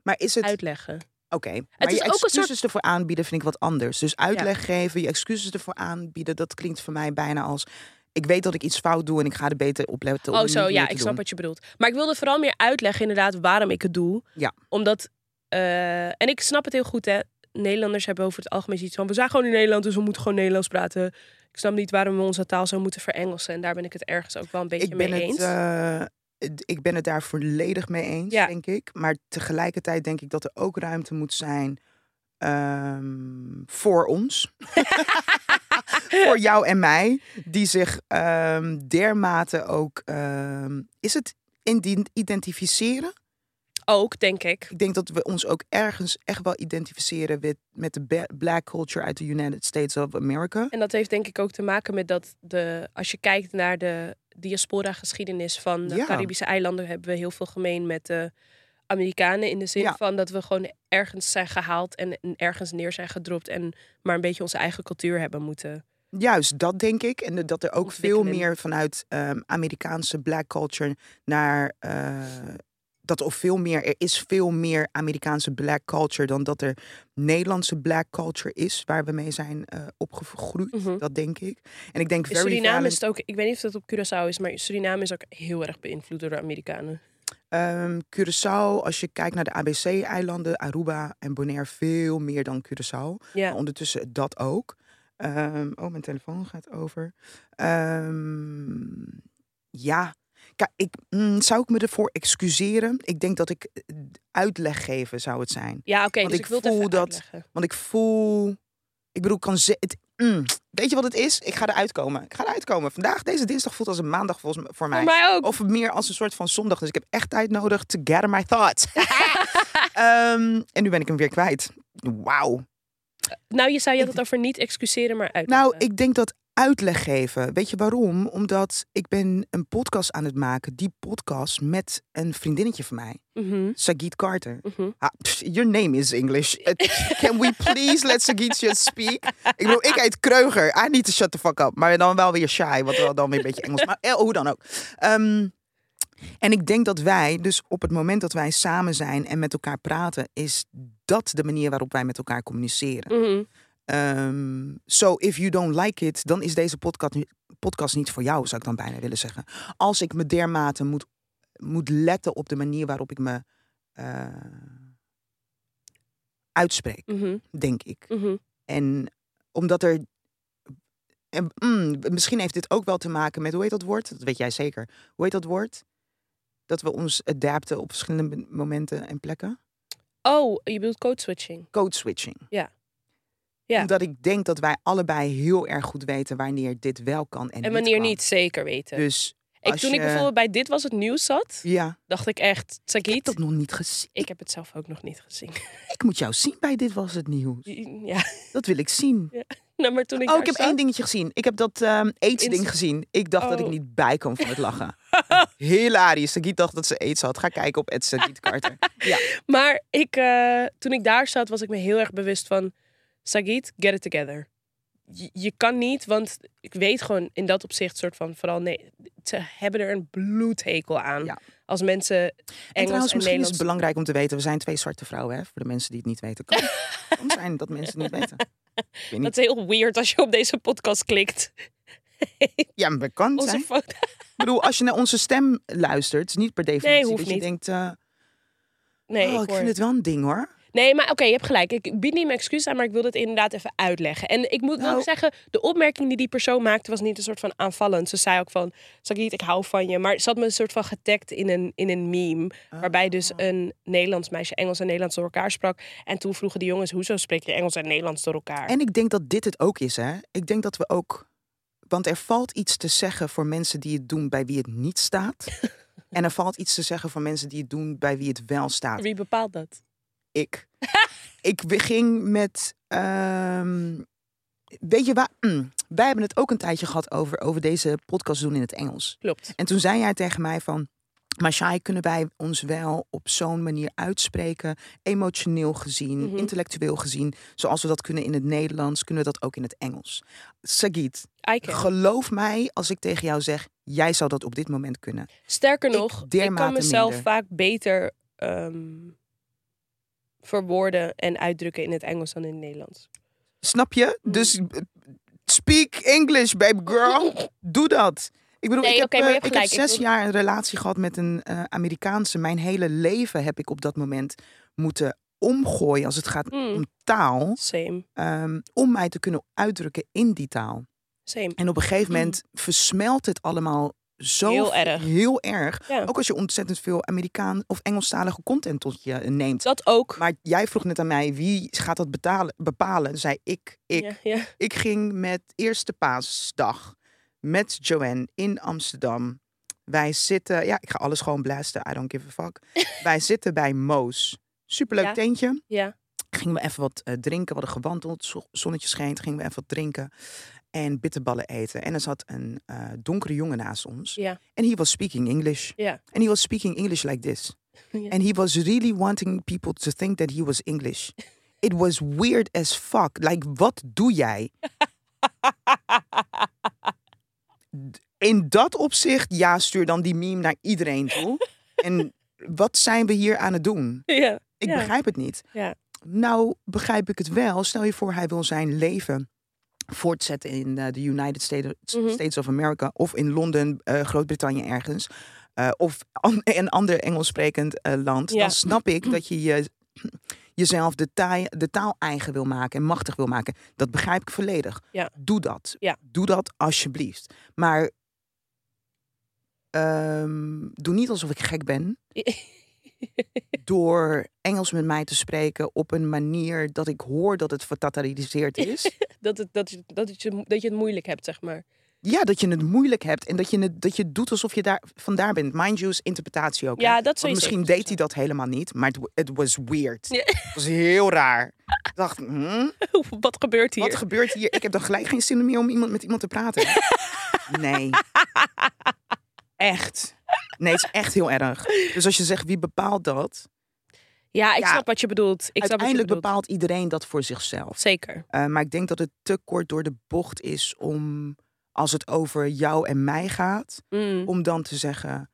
A: Maar is het.
B: uitleggen.
A: Oké. Maar
B: is
A: je
B: ook een soort-
A: excuses ervoor aanbieden vind ik wat anders. Dus uitleg geven, je excuses ervoor aanbieden, dat klinkt voor mij bijna als. Ik weet dat ik iets fout doe en ik ga er beter op letten. om
B: Oh,
A: het
B: zo,
A: niet
B: ja,
A: meer te
B: ik snap
A: doen.
B: wat je bedoelt. Maar ik wilde vooral meer uitleggen inderdaad waarom ik het doe.
A: Ja.
B: Omdat, eh, en ik snap het heel goed hè. Nederlanders hebben over het algemeen iets van, we zijn gewoon in Nederland, dus we moeten gewoon Nederlands praten. Ik snap niet waarom we onze taal zo moeten verengelsen. En daar ben ik het ergens ook wel een beetje
A: Ik ben,
B: mee
A: het,
B: eens.
A: eh, d- ik ben het daar volledig mee eens,
B: Ja.
A: denk ik. Maar tegelijkertijd denk ik dat er ook ruimte moet zijn ehm, voor
B: [LAUGHS]
A: ons. voor jou en mij. Die zich ehm, dermate ook... ehm, is het indi- identificeren?
B: Ook, denk ik.
A: Ik denk dat we ons ook ergens echt wel identificeren... met, met de ba- black culture uit de United States of America.
B: En dat heeft denk ik ook te maken met dat de, als je kijkt naar de diaspora geschiedenis van de
A: Ja.
B: Caribische eilanden, hebben we heel veel gemeen met de Amerikanen. In de zin
A: Ja.
B: van dat we gewoon ergens zijn gehaald en en ergens neer zijn gedropt en maar een beetje onze eigen cultuur hebben moeten.
A: Juist, dat denk ik. En dat er ook veel
B: Ontwikkelen.
A: meer vanuit ehm, Amerikaanse black culture naar. eh, dat er veel meer. Er is veel meer Amerikaanse black culture dan dat er Nederlandse black culture is. Waar we mee zijn eh, opgegroeid.
B: Mhm.
A: Dat denk ik. En ik denk.
B: In
A: Very
B: Suriname
A: Valent-
B: is het ook, ik weet niet of dat op Curaçao is, maar Suriname is ook heel erg beïnvloed door de Amerikanen.
A: Ehm, Curaçao, als je kijkt naar de ABC-eilanden, Aruba en Bonaire, veel meer dan Curaçao.
B: Ja.
A: Maar ondertussen dat ook. Ehm, oh, mijn telefoon gaat over. Ehm, ja, Kijk, ik, mm, zou ik me ervoor excuseren? Ik denk dat ik eh, uitleg geven zou het zijn.
B: Ja, oké,
A: Want
B: dus
A: ik
B: ik, wil het
A: voel
B: even
A: dat-
B: uitleggen.
A: Want ik voel. Ik bedoel, ik kan ze. Het, mm, weet je wat het is? Ik ga eruit komen. Ik ga eruit komen. Vandaag, deze dinsdag, voelt als een maandag volgens m- voor mij. Oh.
B: Voor mij ook.
A: Of meer als een soort van zondag. Dus ik heb echt tijd nodig to gather my thoughts. [LAUGHS] Ehm, en nu ben ik hem weer kwijt. Wauw.
B: Nou, je zei je had
A: Ik-
B: het over niet excuseren, maar uitleggen.
A: Nou, ik denk dat uitleg geven. Weet je waarom? Omdat ik ben een podcast aan het maken. Die podcast met een vriendinnetje van mij.
B: Mhm,
A: Sagit Carter.
B: mhm.
A: Ah, pff, your name is
B: [LAUGHS]
A: English. Uh, Can we please let Sagit just speak? Ik bedoel, ik heet Kreuger. I need to shut the fuck up. Maar dan wel weer shy, wat wel dan weer een beetje Engels. Maar eh, hoe dan ook. Ehm, en ik denk dat wij, dus op het moment dat wij samen zijn en met elkaar praten, is dat de manier waarop wij met elkaar communiceren.
B: Mhm.
A: Ehm so if you don't like it, dan is deze podcast, nu- podcast niet voor jou, zou ik dan bijna willen zeggen. Als ik me dermate moet, moet letten op de manier waarop ik me eh, uitspreek,
B: Mhm,
A: denk ik.
B: mhm.
A: En omdat er. En, mm, misschien heeft dit ook wel te maken met, hoe heet dat woord? Dat weet jij zeker. Hoe heet dat woord? Dat we ons adapten op verschillende momenten en plekken.
B: Oh, je bedoelt code switching.
A: code switching.
B: Ja. Ja.
A: Omdat ik denk dat wij allebei heel erg goed weten wanneer dit wel kan en,
B: En wanneer
A: kan.
B: niet, zeker weten.
A: Dus
B: ik,
A: als
B: toen ik
A: je-
B: bijvoorbeeld bij Dit Was Het Nieuws zat,
A: ja,
B: dacht ik echt,
A: ik heb
B: Sagiet,
A: dat nog niet gezien.
B: ik heb het zelf ook nog niet gezien. [LAUGHS]
A: Ik moet jou zien bij Dit Was Het Nieuws.
B: Ja,
A: Dat wil ik zien.
B: nou, maar toen ik
A: Oh,
B: daar
A: ik heb
B: zat-
A: één dingetje gezien. Ik heb dat ehm AIDS-ding
B: Insta-
A: gezien. Ik dacht dat ik
B: Oh.
A: niet bij kon van het lachen.
B: [LAUGHS]
A: Hilarisch. Sagiet dacht dat ze AIDS had. Ga kijken op Sagiet
B: [LAUGHS]
A: Carter.
B: Maar ik, eh, toen ik daar zat, was ik me heel erg bewust van... Sagit, get it together. Je, je kan niet, want ik weet gewoon in dat opzicht soort van... Vooral, nee, ze hebben er een bloedhekel aan.
A: Ja.
B: Als mensen Engels
A: En
B: en,
A: trouwens, misschien is
B: Nederlands...
A: het belangrijk om te weten... we zijn twee zwarte vrouwen, hè? Voor de mensen die het niet weten.
B: [LAUGHS]
A: Kan, kan zijn dat mensen het niet weten. Ik weet niet.
B: dat is heel weird als je op deze podcast klikt.
A: Ja, maar kan
B: Onze
A: zijn.
B: foto. [LAUGHS]
A: Ik bedoel, als je naar onze stem luistert, is niet per definitie
B: hoeft
A: dat je
B: niet.
A: denkt, eh,
B: Nee,
A: oh, ik
B: hoor.
A: vind het wel een ding hoor.
B: Nee, maar oké, je hebt gelijk. Ik bied niet mijn excuus aan, maar ik wil dit inderdaad even uitleggen. En ik moet wel
A: Nou.
B: ook zeggen, de opmerking die die persoon maakte was niet een soort van aanvallend. Ze zei ook van, Sagiet, ik hou van je. Maar ze had me een soort van getagd in een, in een meme. Waarbij dus
A: Ah.
B: een Nederlands meisje Engels en Nederlands door elkaar sprak. En toen vroegen de jongens, hoezo spreek je Engels en Nederlands door elkaar?
A: En ik denk dat dit het ook is, hè. Ik denk dat we ook, want er valt iets te zeggen voor mensen die het doen bij wie het niet staat.
B: [LAUGHS]
A: en er valt iets te zeggen voor mensen die het doen bij wie het wel staat.
B: Wie bepaalt dat?
A: Ik. ik ging met, ehm, weet je waar, mm, wij hebben het ook een tijdje gehad over, over deze podcast doen in het Engels.
B: Klopt.
A: En toen zei jij tegen mij van... Maar Shai, kunnen wij ons wel op zo'n manier uitspreken? Emotioneel gezien,
B: Mhm.
A: intellectueel gezien. Zoals we dat kunnen in het Nederlands, kunnen we dat ook in het Engels. Sagit,
B: I can.
A: geloof mij als ik tegen jou zeg... jij zou dat op dit moment kunnen.
B: Sterker
A: Ik
B: nog, ik,
A: dermate
B: kan mezelf
A: minder.
B: vaak beter ehm, verwoorden en uitdrukken in het Engels dan in het Nederlands.
A: Snap je?
B: Mhm.
A: Dus eh, speak English, baby
B: [LAUGHS]
A: girl. Doe dat. Ik bedoel,
B: Nee,
A: ik, heb,
B: oké, maar je
A: eh,
B: hebt
A: ik heb
B: gelijk. Ik
A: zes
B: wil-
A: jaar een relatie gehad met een eh, Amerikaanse. Mijn hele leven heb ik op dat moment moeten omgooien als het gaat
B: Mm.
A: om taal.
B: Same,
A: ehm, om mij te kunnen uitdrukken in die taal.
B: same.
A: En op een gegeven moment versmelt het allemaal zo
B: Mm. Heel erg.
A: heel erg.
B: Ja.
A: Ook als je ontzettend veel Amerikaan of Engelstalige content tot je neemt.
B: Dat ook.
A: Maar jij vroeg net aan mij, wie gaat dat betalen, bepalen? Toen zei ik, ik.
B: Ja, ja. [LAUGHS]
A: Ik ging met eerste paasdag met Joanne in Amsterdam. Wij zitten, ja, ik ga alles gewoon blasten, I don't give a
B: [LAUGHS]
A: fuck. Wij zitten bij Moos. Superleuk
B: Ja.
A: tentje
B: ja.
A: gingen we even wat eh, drinken. We hadden gewandeld, zo- zonnetje scheen, gingen we even wat drinken. En bitterballen eten. En er zat een eh, donkere jongen naast ons.
B: Ja.
A: En he was speaking English.
B: Ja.
A: And he was speaking English like this.
B: [LAUGHS] Ja.
A: And he was really wanting people to think that he was
B: [LAUGHS]
A: English. It was weird as fuck. Like, wat doe jij? D- In dat opzicht, ja, stuur dan die meme naar iedereen
B: [LAUGHS]
A: toe. en wat zijn we hier aan het doen?
B: ja.
A: Ik
B: Ja.
A: begrijp het niet.
B: Ja.
A: Nou begrijp ik het wel. Stel je voor, hij wil zijn leven voortzetten in eh, de United States,
B: Mhm.
A: States of America of in Londen, eh, Groot-Brittannië ergens. [LAUGHS] eh, of an- een ander Engels sprekend eh, land.
B: Ja.
A: Dan snap ik dat je je, jezelf de, taai, de taal eigen wil maken en machtig wil maken. Dat begrijp ik volledig.
B: Ja.
A: Doe dat.
B: Ja.
A: Doe dat alsjeblieft. Maar ehm, doe niet alsof ik gek
B: [LAUGHS]
A: ben door Engels met mij te spreken op een manier dat ik hoor dat het vertatariseerd is.
B: dat, het, dat, je- dat, het je, dat je het moeilijk hebt, zeg maar.
A: ja, dat je het moeilijk hebt en dat je het dat je het doet alsof je daar vandaar bent. Mind you, is interpretatie ook. hè?
B: Ja, dat zou
A: Want
B: je [LAUGHS]
A: misschien
B: zeker
A: deed hij dat helemaal niet, maar het, het was weird.
B: Ja.
A: Het was heel raar. Ik dacht, hmm,
B: zeggen. Wat gebeurt hier?
A: wat gebeurt hier? Ik heb dan gelijk geen zin meer om iemand, met iemand te
B: [LAUGHS]
A: praten. Nee. Echt. Nee, het is echt heel erg. Dus als je zegt, wie bepaalt dat?
B: ja, ik
A: Ja.
B: snap wat je bedoelt. Ik snap wat je
A: Uiteindelijk
B: bedoelt.
A: bepaalt iedereen dat voor zichzelf.
B: Zeker.
A: Eh, maar ik denk dat het te kort door de bocht is om, als het over jou en mij gaat,
B: Mm.
A: om dan te zeggen: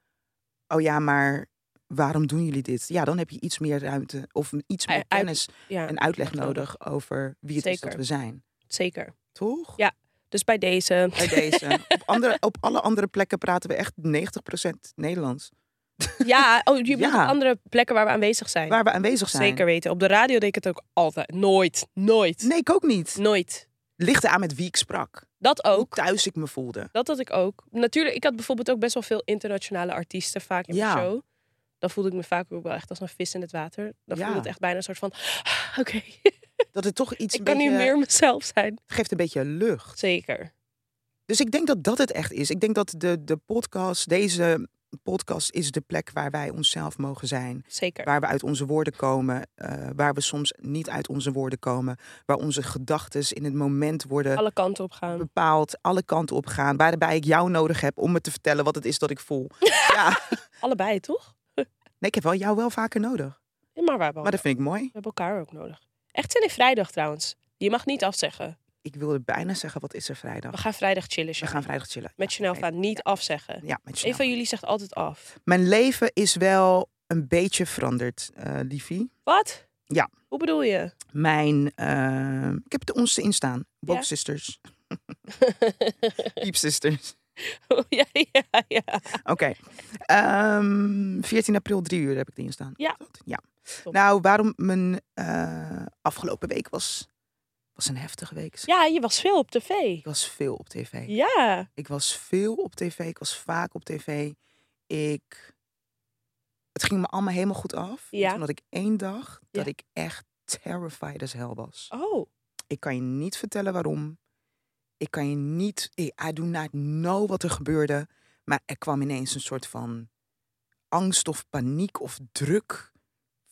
A: Oh ja, maar waarom doen jullie dit? Ja, dan heb je iets meer ruimte of iets
B: Ui-
A: meer
B: uit-
A: kennis
B: Ja,
A: en uitleg
B: uitleg
A: nodig over wie het is dat
B: Zeker.
A: we zijn.
B: zeker.
A: Toch?
B: Ja. Dus bij deze.
A: Bij deze. op, andere, op alle andere plekken praten we echt 90% Nederlands.
B: [LAUGHS] Ja, oh, je bedoelt
A: Ja.
B: op andere plekken waar we aanwezig zijn.
A: Waar we aanwezig zijn.
B: Zeker weten. Op de radio deed ik het ook altijd. Nooit. Nooit.
A: Nee, ik ook niet.
B: Nooit.
A: Ligt aan met wie ik sprak.
B: Dat
A: Hoe
B: Mm. ook.
A: thuis ik me voelde.
B: Dat had ik ook. Natuurlijk, ik had bijvoorbeeld ook best wel veel internationale artiesten vaak in
A: Ja.
B: mijn show. Dan voelde ik me vaak ook wel echt als een vis in het water. Dan
A: Ja.
B: voelde het echt bijna een soort van... "Ah, Oké,
A: Dat het toch iets
B: [LAUGHS] ik
A: een
B: kan
A: beetje,
B: nu meer mezelf zijn.
A: het geeft een beetje lucht.
B: Zeker.
A: Dus ik denk dat dat het echt is. Ik denk dat de, de podcast, deze podcast is de plek waar wij onszelf mogen zijn.
B: Zeker.
A: waar we uit onze woorden komen, eh, waar we soms niet uit onze woorden komen, waar onze gedachten in het moment worden
B: Alle kanten op gaan.
A: bepaald, alle kanten op gaan, waarbij ik jou nodig heb om me te vertellen wat het is dat ik
B: [LAUGHS]
A: voel. ja,
B: Allebei, toch?
A: nee, ik heb wel jou wel vaker nodig,
B: Oh, Ja, maar we hebben,
A: maar dat vind ik mooi.
B: we hebben elkaar ook nodig. Echt zin in vrijdag trouwens. Je mag niet afzeggen.
A: Ik wilde bijna zeggen, wat is er vrijdag?
B: We gaan vrijdag chillen.
A: We
B: Chanel.
A: gaan vrijdag chillen.
B: Met Chanel van niet afzeggen.
A: Ja, met
B: Een van
A: Chanel.
B: jullie zegt altijd af.
A: Mijn leven is wel een beetje veranderd, eh Liefie.
B: Wat?
A: Ja.
B: Hoe bedoel je? [LAUGHS]
A: Mijn, eh, ik heb de ons in staan. Bob
B: Ja? [LAUGHS]
A: Sisters. Deep Sisters.
B: Oh, ja, ja, ja.
A: Oké. Ehm, 14 april, drie uur heb ik erin staan.
B: Ja.
A: Is dat? ja.
B: Top.
A: Nou, waarom mijn eh, afgelopen week was, was een heftige week.
B: Ja, je was veel op tv.
A: Ik was veel op tv.
B: Ja.
A: Ik was veel op tv. Ik was vaak op tv. Ik... Het ging me allemaal helemaal goed af.
B: Ja.
A: Omdat ik één dag dat
B: Ja.
A: ik echt terrified as hell was.
B: Oh.
A: Ik kan je niet vertellen waarom. Ik kan je niet. eh, I do not know wat er gebeurde. Maar er kwam ineens een soort van angst of paniek of druk.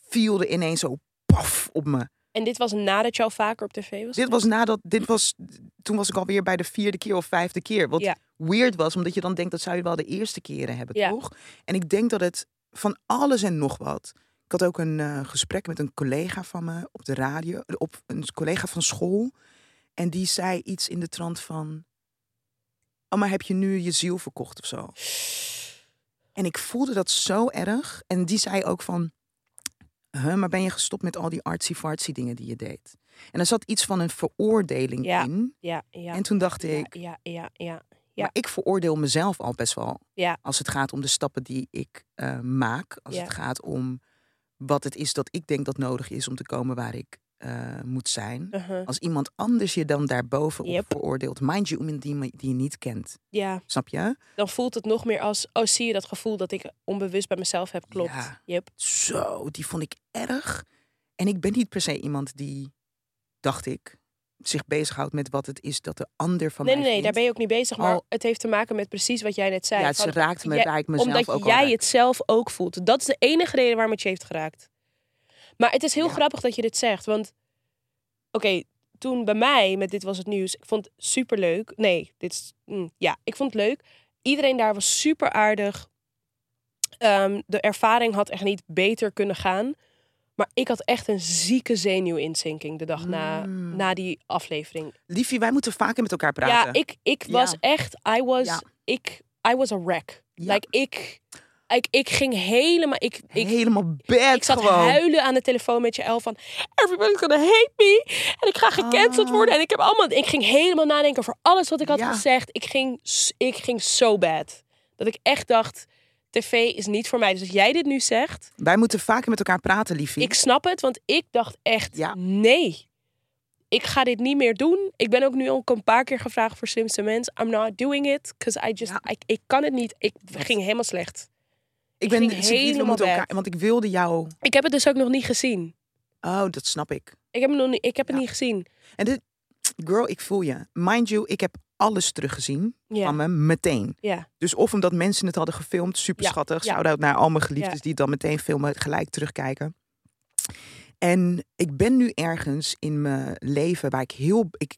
A: Viel er ineens zo paf op me.
B: En dit was nadat je al vaker op tv was?
A: Dit was nadat. Dit was, toen was ik alweer bij de vierde keer of vijfde keer. Wat
B: Ja.
A: weird was, omdat je dan denkt dat zou je wel de eerste keren hebben,
B: Ja.
A: toch? En ik denk dat het van alles en nog wat. Ik had ook een eh, gesprek met een collega van me op de radio, op een collega van school. En die zei iets in de trant van. Oh, maar heb je nu je ziel verkocht of zo? En ik voelde dat zo erg. En die zei ook van. Huh, maar ben je gestopt met al die artsy-fartsy dingen die je deed? En er zat iets van een veroordeling
B: Ja,
A: in.
B: Ja, ja.
A: En toen dacht
B: ja,
A: ik,
B: Ja, ja, ja. ja.
A: maar ik veroordeel mezelf al best wel.
B: Ja.
A: Als het gaat om de stappen die ik eh, maak. Als
B: Ja.
A: het gaat om wat het is dat ik denk dat nodig is om te komen waar ik eh, moet zijn.
B: Uh-huh.
A: Als iemand anders je dan daarboven
B: Yep.
A: veroordeelt. Mind you, iemand die, me- die je niet kent.
B: Ja,
A: Snap je?
B: dan voelt het nog meer als... Oh, zie je dat gevoel dat ik onbewust bij mezelf heb? Klopt.
A: Ja.
B: Yep.
A: Zo, die vond ik erg. En ik ben niet per se iemand die, dacht ik, zich bezighoudt met wat het is dat de ander van
B: Nee,
A: mij
B: nee, nee, daar
A: vindt.
B: ben je ook niet bezig. Maar
A: Al-
B: het heeft te maken met precies wat jij net zei.
A: Ja,
B: Van,
A: ze raakt me,
B: jij-
A: raakt mezelf
B: omdat
A: ook al
B: jij
A: raakt.
B: het zelf ook voelt. Dat is de enige reden waarom het je heeft geraakt. Maar het is heel
A: Ja.
B: grappig dat je dit zegt. Want, oké, toen bij mij met Dit Was Het Nieuws... Ik vond het superleuk. Nee, dit is... mm, ja, ik vond het leuk. Iedereen daar was super aardig. Ehm, de ervaring had echt niet beter kunnen gaan. Maar ik had echt een zieke zenuwinzinking de dag na,
A: Mm.
B: na die aflevering.
A: Liefie, wij moeten vaker met elkaar praten.
B: Ja, ik, ik
A: Ja.
B: was echt, I was,
A: Ja.
B: ik, I was a wreck.
A: Ja.
B: Like, ik, ik, ik ging helemaal, ik, ik,
A: Helemaal bad
B: ik zat
A: gewoon.
B: huilen aan de telefoon met je El van, everybody's gonna hate me. En ik ga gecanceld
A: Ah.
B: worden. En ik heb allemaal, ik ging helemaal nadenken over alles wat ik had
A: Ja.
B: gezegd. Ik ging, s- ik ging zo bad. Dat ik echt dacht, tv is niet voor mij. Dus als jij dit nu zegt,
A: Wij moeten vaker met elkaar praten, liefie.
B: ik snap het, want ik dacht echt,
A: Hm? Ja.
B: nee, ik ga dit niet meer doen. Ik ben ook nu al een paar keer gevraagd voor slimste mens. I'm not doing it, because I just,
A: Ja.
B: ik, ik kan het niet. Ik ging helemaal slecht.
A: ik ben
B: ging
A: dus we
B: helemaal
A: moeten
B: weg.
A: elkaar, Want ik wilde jou...
B: Ik heb het dus ook nog niet gezien.
A: Oh, dat snap ik.
B: Ik heb, hem nog niet, ik heb het
A: Ja.
B: niet gezien.
A: En dit... Girl, ik voel je. Mind you, ik heb alles teruggezien
B: Ja.
A: van me meteen.
B: Ja.
A: Dus of omdat mensen het hadden gefilmd, super
B: Ja,
A: schattig.
B: ja.
A: Shout-out naar al mijn geliefdes die het dan meteen filmen, gelijk terugkijken. En ik ben nu ergens in mijn leven waar ik heel... Ik,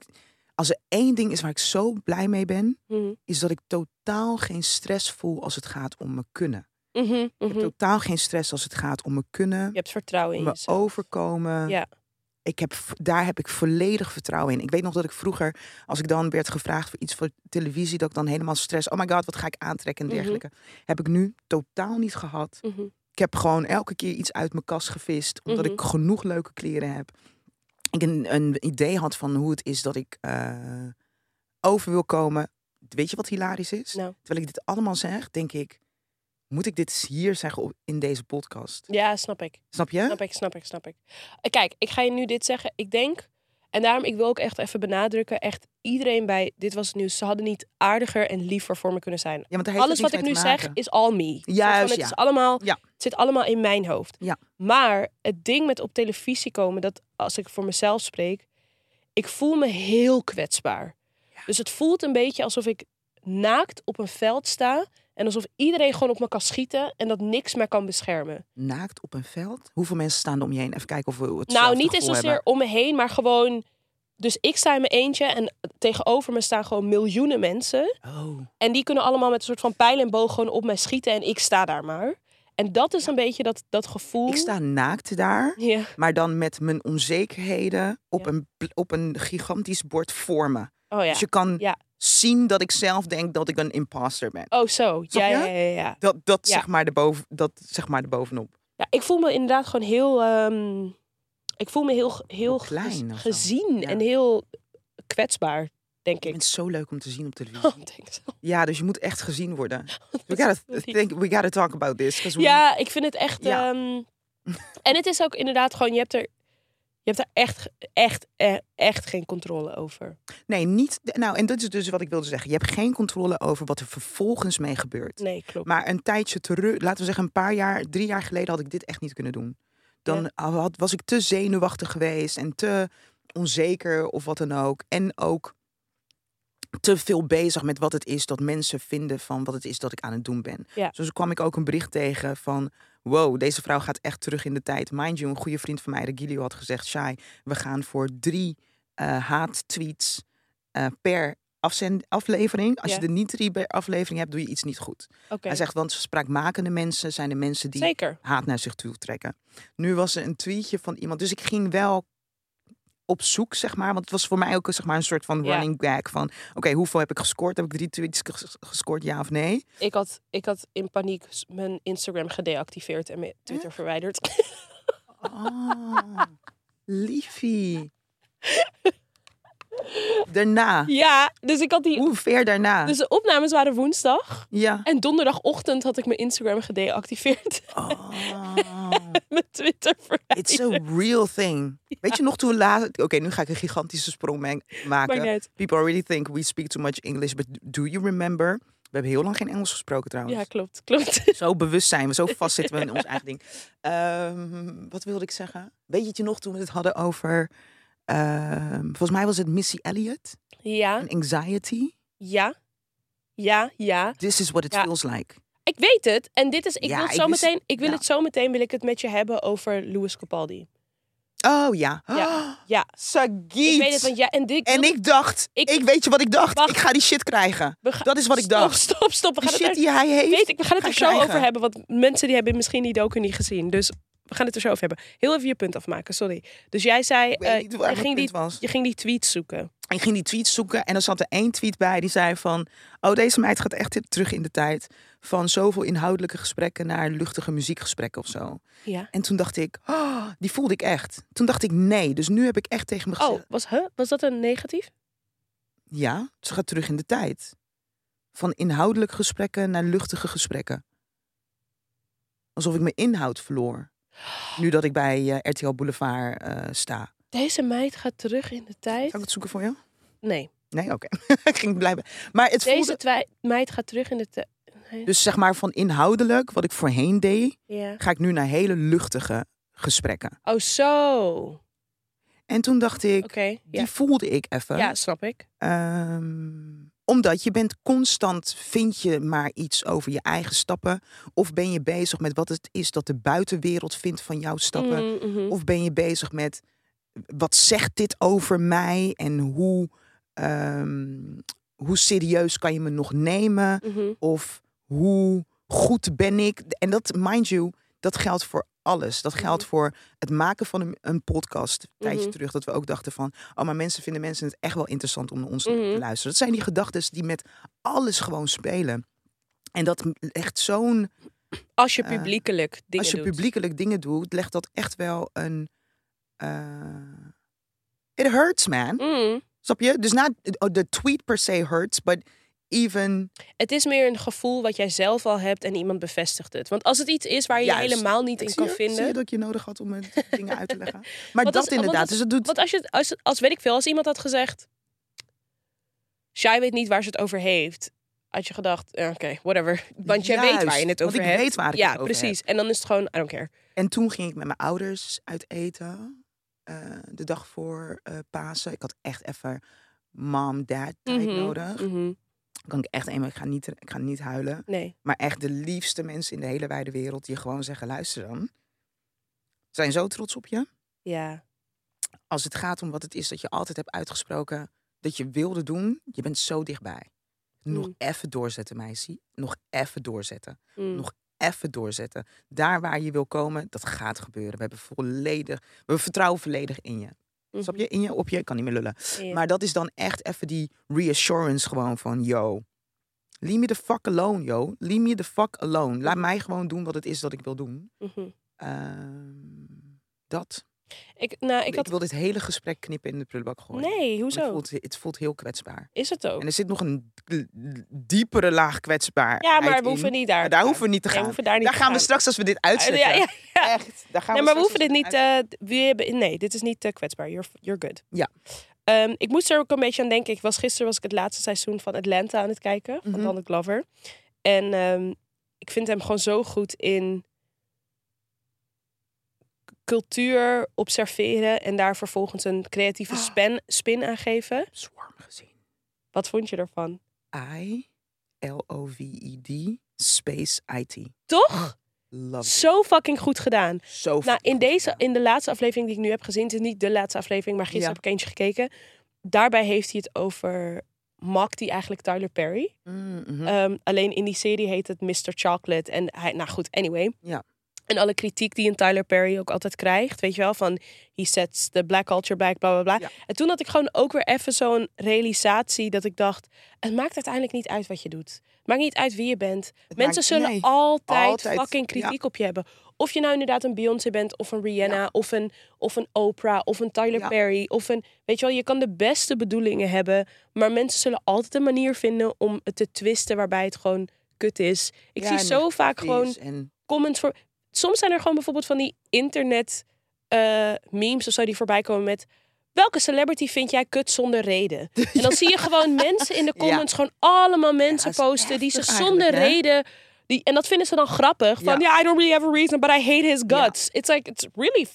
A: als er één ding is waar ik zo blij mee ben,
B: Mhm.
A: is dat ik totaal geen stress voel als het gaat om mijn kunnen.
B: Mhm, mhm.
A: Totaal geen stress als het gaat om mijn kunnen,
B: Je hebt vertrouwen in
A: me
B: jezelf.
A: overkomen.
B: Ja.
A: Ik heb, v- daar heb ik volledig vertrouwen in. Ik weet nog dat ik vroeger, als ik dan werd gevraagd voor iets voor televisie, dat ik dan helemaal stress, oh my god, wat ga ik aantrekken en
B: Mhm.
A: dergelijke. Heb ik nu totaal niet gehad.
B: Mhm.
A: Ik heb gewoon elke keer iets uit mijn kast gevist, omdat ik genoeg leuke kleren heb. Ik een, een idee had van hoe het is dat ik eh, over wil komen. Weet je wat hilarisch is?
B: Nou.
A: Terwijl ik dit allemaal zeg, denk ik, moet ik dit hier zeggen op- in deze podcast?
B: Ja, snap ik.
A: Snap je?
B: Snap ik, snap ik, snap ik. Eh, Kijk, ik ga je nu dit zeggen. Ik denk, en daarom ik wil ook echt even benadrukken, echt iedereen bij Dit Was Het Nieuws, ze hadden niet aardiger en liever voor me kunnen zijn.
A: Ja, want daar heeft
B: Alles
A: het
B: wat ik
A: niets
B: nu
A: mee te
B: zeg
A: maken.
B: is all me. Soort van,
A: Juist,
B: het,
A: ja.
B: is allemaal,
A: Ja.
B: het zit allemaal in mijn hoofd.
A: Ja.
B: Maar het ding met op televisie komen, dat als ik voor mezelf spreek, ik voel me heel kwetsbaar. Dus het voelt een beetje alsof ik naakt op een veld sta en alsof iedereen gewoon op me kan schieten en dat niks meer kan beschermen.
A: Naakt op een veld? Hoeveel mensen staan er om je heen? Even kijken of we het
B: Nou, niet eens zozeer om me heen, maar gewoon. Dus ik sta in mijn eentje en tegenover me staan gewoon miljoenen mensen.
A: Oh.
B: En die kunnen allemaal met een soort van pijl en boog gewoon op mij schieten en ik sta daar maar. En dat is een beetje dat, dat gevoel.
A: Ik sta naakt daar,
B: Ja.
A: maar dan met mijn onzekerheden op,
B: Ja.
A: een, bl- op een gigantisch bord voor me.
B: Oh ja.
A: Dus je kan
B: Ja.
A: zien dat ik zelf denk dat ik een imposter ben.
B: Oh zo.
A: Snap
B: Ja,
A: je?
B: ja, ja, ja.
A: Dat, dat,
B: Ja.
A: zeg, maar de boven, dat zeg maar de bovenop.
B: Ja, ik voel me inderdaad gewoon heel. ehm, ik voel me heel, heel gez-
A: klein of zo.
B: gezien
A: Ja.
B: en heel kwetsbaar, denk
A: Ik
B: ik. [LAUGHS]
A: vind het zo leuk om te zien op televisie.
B: Oh, denk zo.
A: Ja, dus je moet echt gezien
B: [LAUGHS]
A: worden. We
B: Dat
A: gotta,
B: is heel lief.
A: think, we gotta talk about this. 'cause we-
B: Ja, ik vind het echt.
A: Ja. [LAUGHS]
B: ehm, en het is ook inderdaad gewoon, je hebt er, je hebt er echt, echt, eh, echt geen controle over.
A: Nee, niet. Nou, en dat is dus wat ik wilde zeggen. Je hebt geen controle over wat er vervolgens mee gebeurt.
B: Nee, klopt.
A: Maar een tijdje terug, laten we zeggen een paar jaar, drie jaar geleden had ik dit echt niet kunnen doen. Dan had, was ik te zenuwachtig geweest en te onzeker of wat dan ook. En ook te veel bezig met wat het is dat mensen vinden van wat het is dat ik aan het doen ben.
B: Ja.
A: Dus kwam ik ook een bericht tegen van... wow, deze vrouw gaat echt terug in de tijd. Mind you, een goede vriend van mij, Regilio, had gezegd... Shai, we gaan voor drie eh haattweets eh, per afzend- aflevering. Als
B: Ja.
A: je er niet drie per aflevering hebt, doe je iets niet goed.
B: Oké,
A: Hij zegt, want spraakmakende mensen zijn de mensen die
B: zeker.
A: haat naar zich toe trekken. Nu was er een tweetje van iemand, dus ik ging wel op zoek, zeg maar. Want het was voor mij ook zeg maar, een soort van
B: Ja.
A: running gag van... Oké, hoeveel heb ik gescoord? Heb ik drie tweets ges- gescoord, ja of nee?
B: Ik had, ik had in paniek s- mijn Instagram gedeactiveerd en mijn Twitter
A: [LAUGHS]
B: verwijderd. [LAUGHS]
A: Oh, liefie. Daarna.
B: ja, dus ik had die.
A: Hoe ver daarna?
B: Dus de opnames waren woensdag.
A: Ja.
B: En donderdagochtend had ik mijn Instagram gedeactiveerd. [LAUGHS]
A: Oh.
B: mijn Twitter verwijderd.
A: It's
B: [LAUGHS]
A: a real thing. Weet je nog toen later... Oké, nu ga ik een gigantische sprong me-
B: Maakt niet
A: maken.
B: uit.
A: People already think we speak too much English, but do you remember? We hebben heel lang geen Engels gesproken trouwens.
B: Ja, klopt. Klopt. [LAUGHS]
A: Zo bewust zijn we, zo vast zitten we in ons eigen ding. Ehm, wat wilde ik zeggen? Weet je nog toen we het hadden over... ehm, volgens mij was het Missy Elliott
B: ja,
A: en anxiety.
B: ja, ja, ja.
A: This is what it
B: Ja.
A: feels like.
B: Ik weet het. En dit is. Ik
A: Ja,
B: wil het
A: ik
B: zo
A: wist-
B: meteen. Ik wil
A: ja.
B: het zo meteen. Wil ik het met je hebben over Louis Capaldi.
A: Oh ja.
B: Ja, ja.
A: Sagiet.
B: Ik weet het. Want ja, en dit.
A: En ik dacht,
B: Ik-
A: ik, weet je wat ik dacht?
B: Wacht.
A: Ik ga die shit krijgen.
B: We gaan-
A: Dat is wat ik dacht.
B: Stop, stop, stop. We
A: Die
B: gaan het
A: shit
B: er,
A: die hij heeft.
B: weet ik, we gaan het
A: ga
B: er
A: je
B: zo
A: krijgen.
B: over hebben. Want mensen die hebben misschien die docu niet gezien. Dus we gaan het er zo over hebben. Heel even je punt afmaken. Sorry. Dus jij zei.
A: Ik weet
B: eh,
A: niet waar
B: je,
A: mijn
B: ging
A: punt
B: die,
A: was.
B: je ging die tweets zoeken.
A: Ik ging die tweets zoeken en er zat er één tweet bij die zei van... Oh, deze meid gaat echt terug in de tijd. Van zoveel inhoudelijke gesprekken naar luchtige muziekgesprekken of zo.
B: Ja.
A: En toen dacht ik, oh, die voelde ik echt. Toen dacht ik, nee. Dus nu heb ik echt tegen me gezegd...
B: Oh, was, huh? was dat een negatief?
A: Ja, ze gaat terug in de tijd. Van inhoudelijke gesprekken naar luchtige gesprekken. Alsof ik mijn inhoud verloor. Nu dat ik bij eh, RTL Boulevard eh, sta.
B: Deze meid gaat terug in de
A: Zal ik
B: tijd.
A: het zoeken voor jou?
B: Nee,
A: Nee, oké. [LAUGHS] ik ging blijven. Maar het
B: deze
A: voelde...
B: twij- meid gaat terug in de tijd.
A: Dus zeg maar van inhoudelijk, wat ik voorheen deed,
B: Ja.
A: ga ik nu naar hele luchtige gesprekken.
B: Oh, zo. Oké,
A: En toen dacht ik,
B: ja.
A: die voelde ik even.
B: ja, snap ik.
A: Ehm, omdat je bent constant, vind je maar iets over je eigen stappen. Of ben je bezig met wat het is dat de buitenwereld vindt van jouw stappen.
B: Mm, mhm.
A: eh, Of ben je bezig met wat zegt dit over mij en hoe, ehm, hoe serieus kan je me nog nemen?
B: Mhm.
A: Of hoe goed ben ik? En dat, mind you, dat geldt voor alles. Dat geldt voor het maken van een, een podcast. Een tijdje
B: Mhm.
A: terug dat we ook dachten van... oh, maar mensen vinden mensen het echt wel interessant om naar ons
B: Mhm.
A: te luisteren. Dat zijn die gedachten die met alles gewoon spelen. En dat m- echt zo'n...
B: Als je
A: eh,
B: publiekelijk dingen
A: Als je
B: doet.
A: publiekelijk dingen doet, legt dat echt wel een... eh, it hurts, man.
B: Mm.
A: Snap je? Dus na de tweet per se hurts, but even...
B: Het is meer een gevoel wat jij zelf al hebt en iemand bevestigt het. Want als het iets is waar je je
A: Juist.
B: helemaal niet in
A: Ik
B: kan
A: zie je,
B: vinden.
A: Zie je dat ik je nodig had om me dingen
B: [LAUGHS]
A: uit te leggen? Maar
B: Want
A: dat
B: als- want
A: inderdaad.
B: als-
A: dus het doet.
B: Want als, je, als, als weet ik veel, als iemand had gezegd... Shai weet niet waar ze het over heeft. Had je gedacht, eh, oké, whatever. Want jij weet waar
A: Juist,
B: je het
A: want
B: over
A: ik
B: hebt.
A: weet waar ik
B: ja,
A: het over
B: precies. En dan is het gewoon, I don't care.
A: En toen ging ik met mijn ouders uit eten. eh, de dag voor eh Pasen. Ik had echt even mom, dad tijd
B: Mhm,
A: nodig.
B: mhm.
A: Kan ik echt eenmaal, ik ga, niet, ik ga niet huilen.
B: Nee.
A: Maar echt de liefste mensen in de hele wijde wereld die gewoon zeggen: luister dan. Ze Zijn zo trots op je.
B: Ja.
A: Als het gaat om wat het is dat je altijd hebt uitgesproken. dat je wilde doen. Je bent zo dichtbij. Nog
B: Mm.
A: even doorzetten, meisje. Nog even doorzetten.
B: Mm.
A: Nog even doorzetten. Daar waar je wil komen, dat gaat gebeuren. We hebben volledig, we vertrouwen volledig in je. Snap je? In je, op je, ik kan niet meer lullen.
B: Mhm. Ja.
A: Maar dat is dan echt even die reassurance gewoon van, yo, leave me the fuck alone, yo. Leave me the fuck alone. Laat mij gewoon doen wat het is dat ik wil doen.
B: Mhm.
A: Ehm, dat.
B: ik, nou, ik
A: Ik,
B: had...
A: wil dit hele gesprek knippen in de prullenbak gooien. Want
B: Nee,
A: Het
B: hoezo? Oh.
A: voelt, het voelt heel kwetsbaar.
B: Is het ook?
A: En er zit nog een diepere laag kwetsbaar.
B: Ja, maar we hoeven niet daar.
A: daar
B: te gaan.
A: hoeven we niet te
B: Nee, we
A: gaan.
B: hoeven daar niet
A: Daar
B: te
A: gaan we straks als we dit uitzetten.
B: Ja, ja, ja.
A: Echt. Daar gaan
B: Nee,
A: we
B: maar we hoeven dit niet.
A: te
B: eh, d- we hebben, nee, dit is niet te kwetsbaar. You're, you're good.
A: Ja.
B: Ehm, ik moest er ook een beetje aan denken. Ik was, gisteren was ik het laatste seizoen van Atlanta aan het kijken. Van
A: Mhm.
B: Donald Glover. En ehm, ik vind hem gewoon zo goed in c- cultuur observeren. En daar vervolgens een creatieve
A: Ah.
B: span, spin aan geven.
A: Swarm gezien.
B: Wat vond je ervan?
A: I-L-O-V-E-D space IT.
B: Toch?
A: Love it.
B: Zo fucking goed gedaan.
A: Zo
B: Nou, in,
A: goed
B: deze,
A: gedaan.
B: in de laatste aflevering die ik nu heb gezien, het is niet de laatste aflevering, maar gisteren
A: Ja.
B: heb ik eentje gekeken. Daarbij heeft hij het over Mac, die eigenlijk Tyler Perry.
A: Mm, mhm.
B: Ehm, alleen in die serie heet het Mr. Chocolate. En hij, nou goed, anyway.
A: Ja.
B: En alle kritiek die een Tyler Perry ook altijd krijgt, weet je wel, van he sets the black culture back, bla bla bla.
A: Ja.
B: En toen had ik gewoon ook weer even zo'n realisatie dat ik dacht, het maakt uiteindelijk niet uit wat je doet. Het maakt niet uit wie je bent.
A: Het
B: Mensen
A: maakt-
B: zullen
A: nee.
B: altijd,
A: Altijd,
B: fucking
A: ja.
B: kritiek op je hebben. Of je nou inderdaad een Beyoncé bent, of een Rihanna, of, een, of een Oprah, of een Tyler
A: Ja.
B: Perry. Of een, weet je wel, je kan de beste bedoelingen hebben. Maar mensen zullen altijd een manier vinden om het te twisten waarbij het gewoon kut is. Ik
A: Ja,
B: zie
A: en
B: zo vaak
A: Precies.
B: gewoon
A: En
B: comments voor. Soms zijn er gewoon bijvoorbeeld van die internet eh, memes of zo die voorbij komen met. Welke celebrity vind jij kut zonder
A: [LAUGHS]
B: reden? En dan zie je gewoon mensen in de
A: Ja.
B: comments gewoon allemaal mensen
A: dat is
B: posten die zich
A: heftig
B: zonder
A: eigenlijk,
B: reden. Die, en dat vinden ze dan grappig. Van ja,
A: Ja.
B: I don't really have a reason, but I hate his guts. It's like, it's really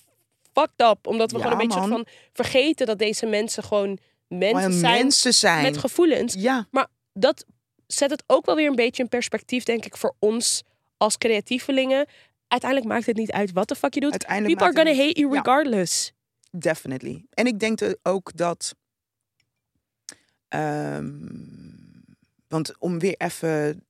B: fucked up. Omdat we
A: Ja,
B: gewoon een beetje
A: man.
B: van vergeten dat deze mensen gewoon mensen
A: gewoon
B: zijn
A: mensen zijn.
B: met gevoelens.
A: ja,
B: Maar dat zet het ook wel weer een beetje in perspectief, denk ik, voor ons als creatievelingen. Uiteindelijk maakt het niet uit wat de fuck je doet.
A: uiteindelijk.
B: People are
A: maakt
B: gonna
A: het
B: hate you
A: Ja. Eh,
B: regardless.
A: Definitely. En ik denk de- ook dat. ehm, want om weer even.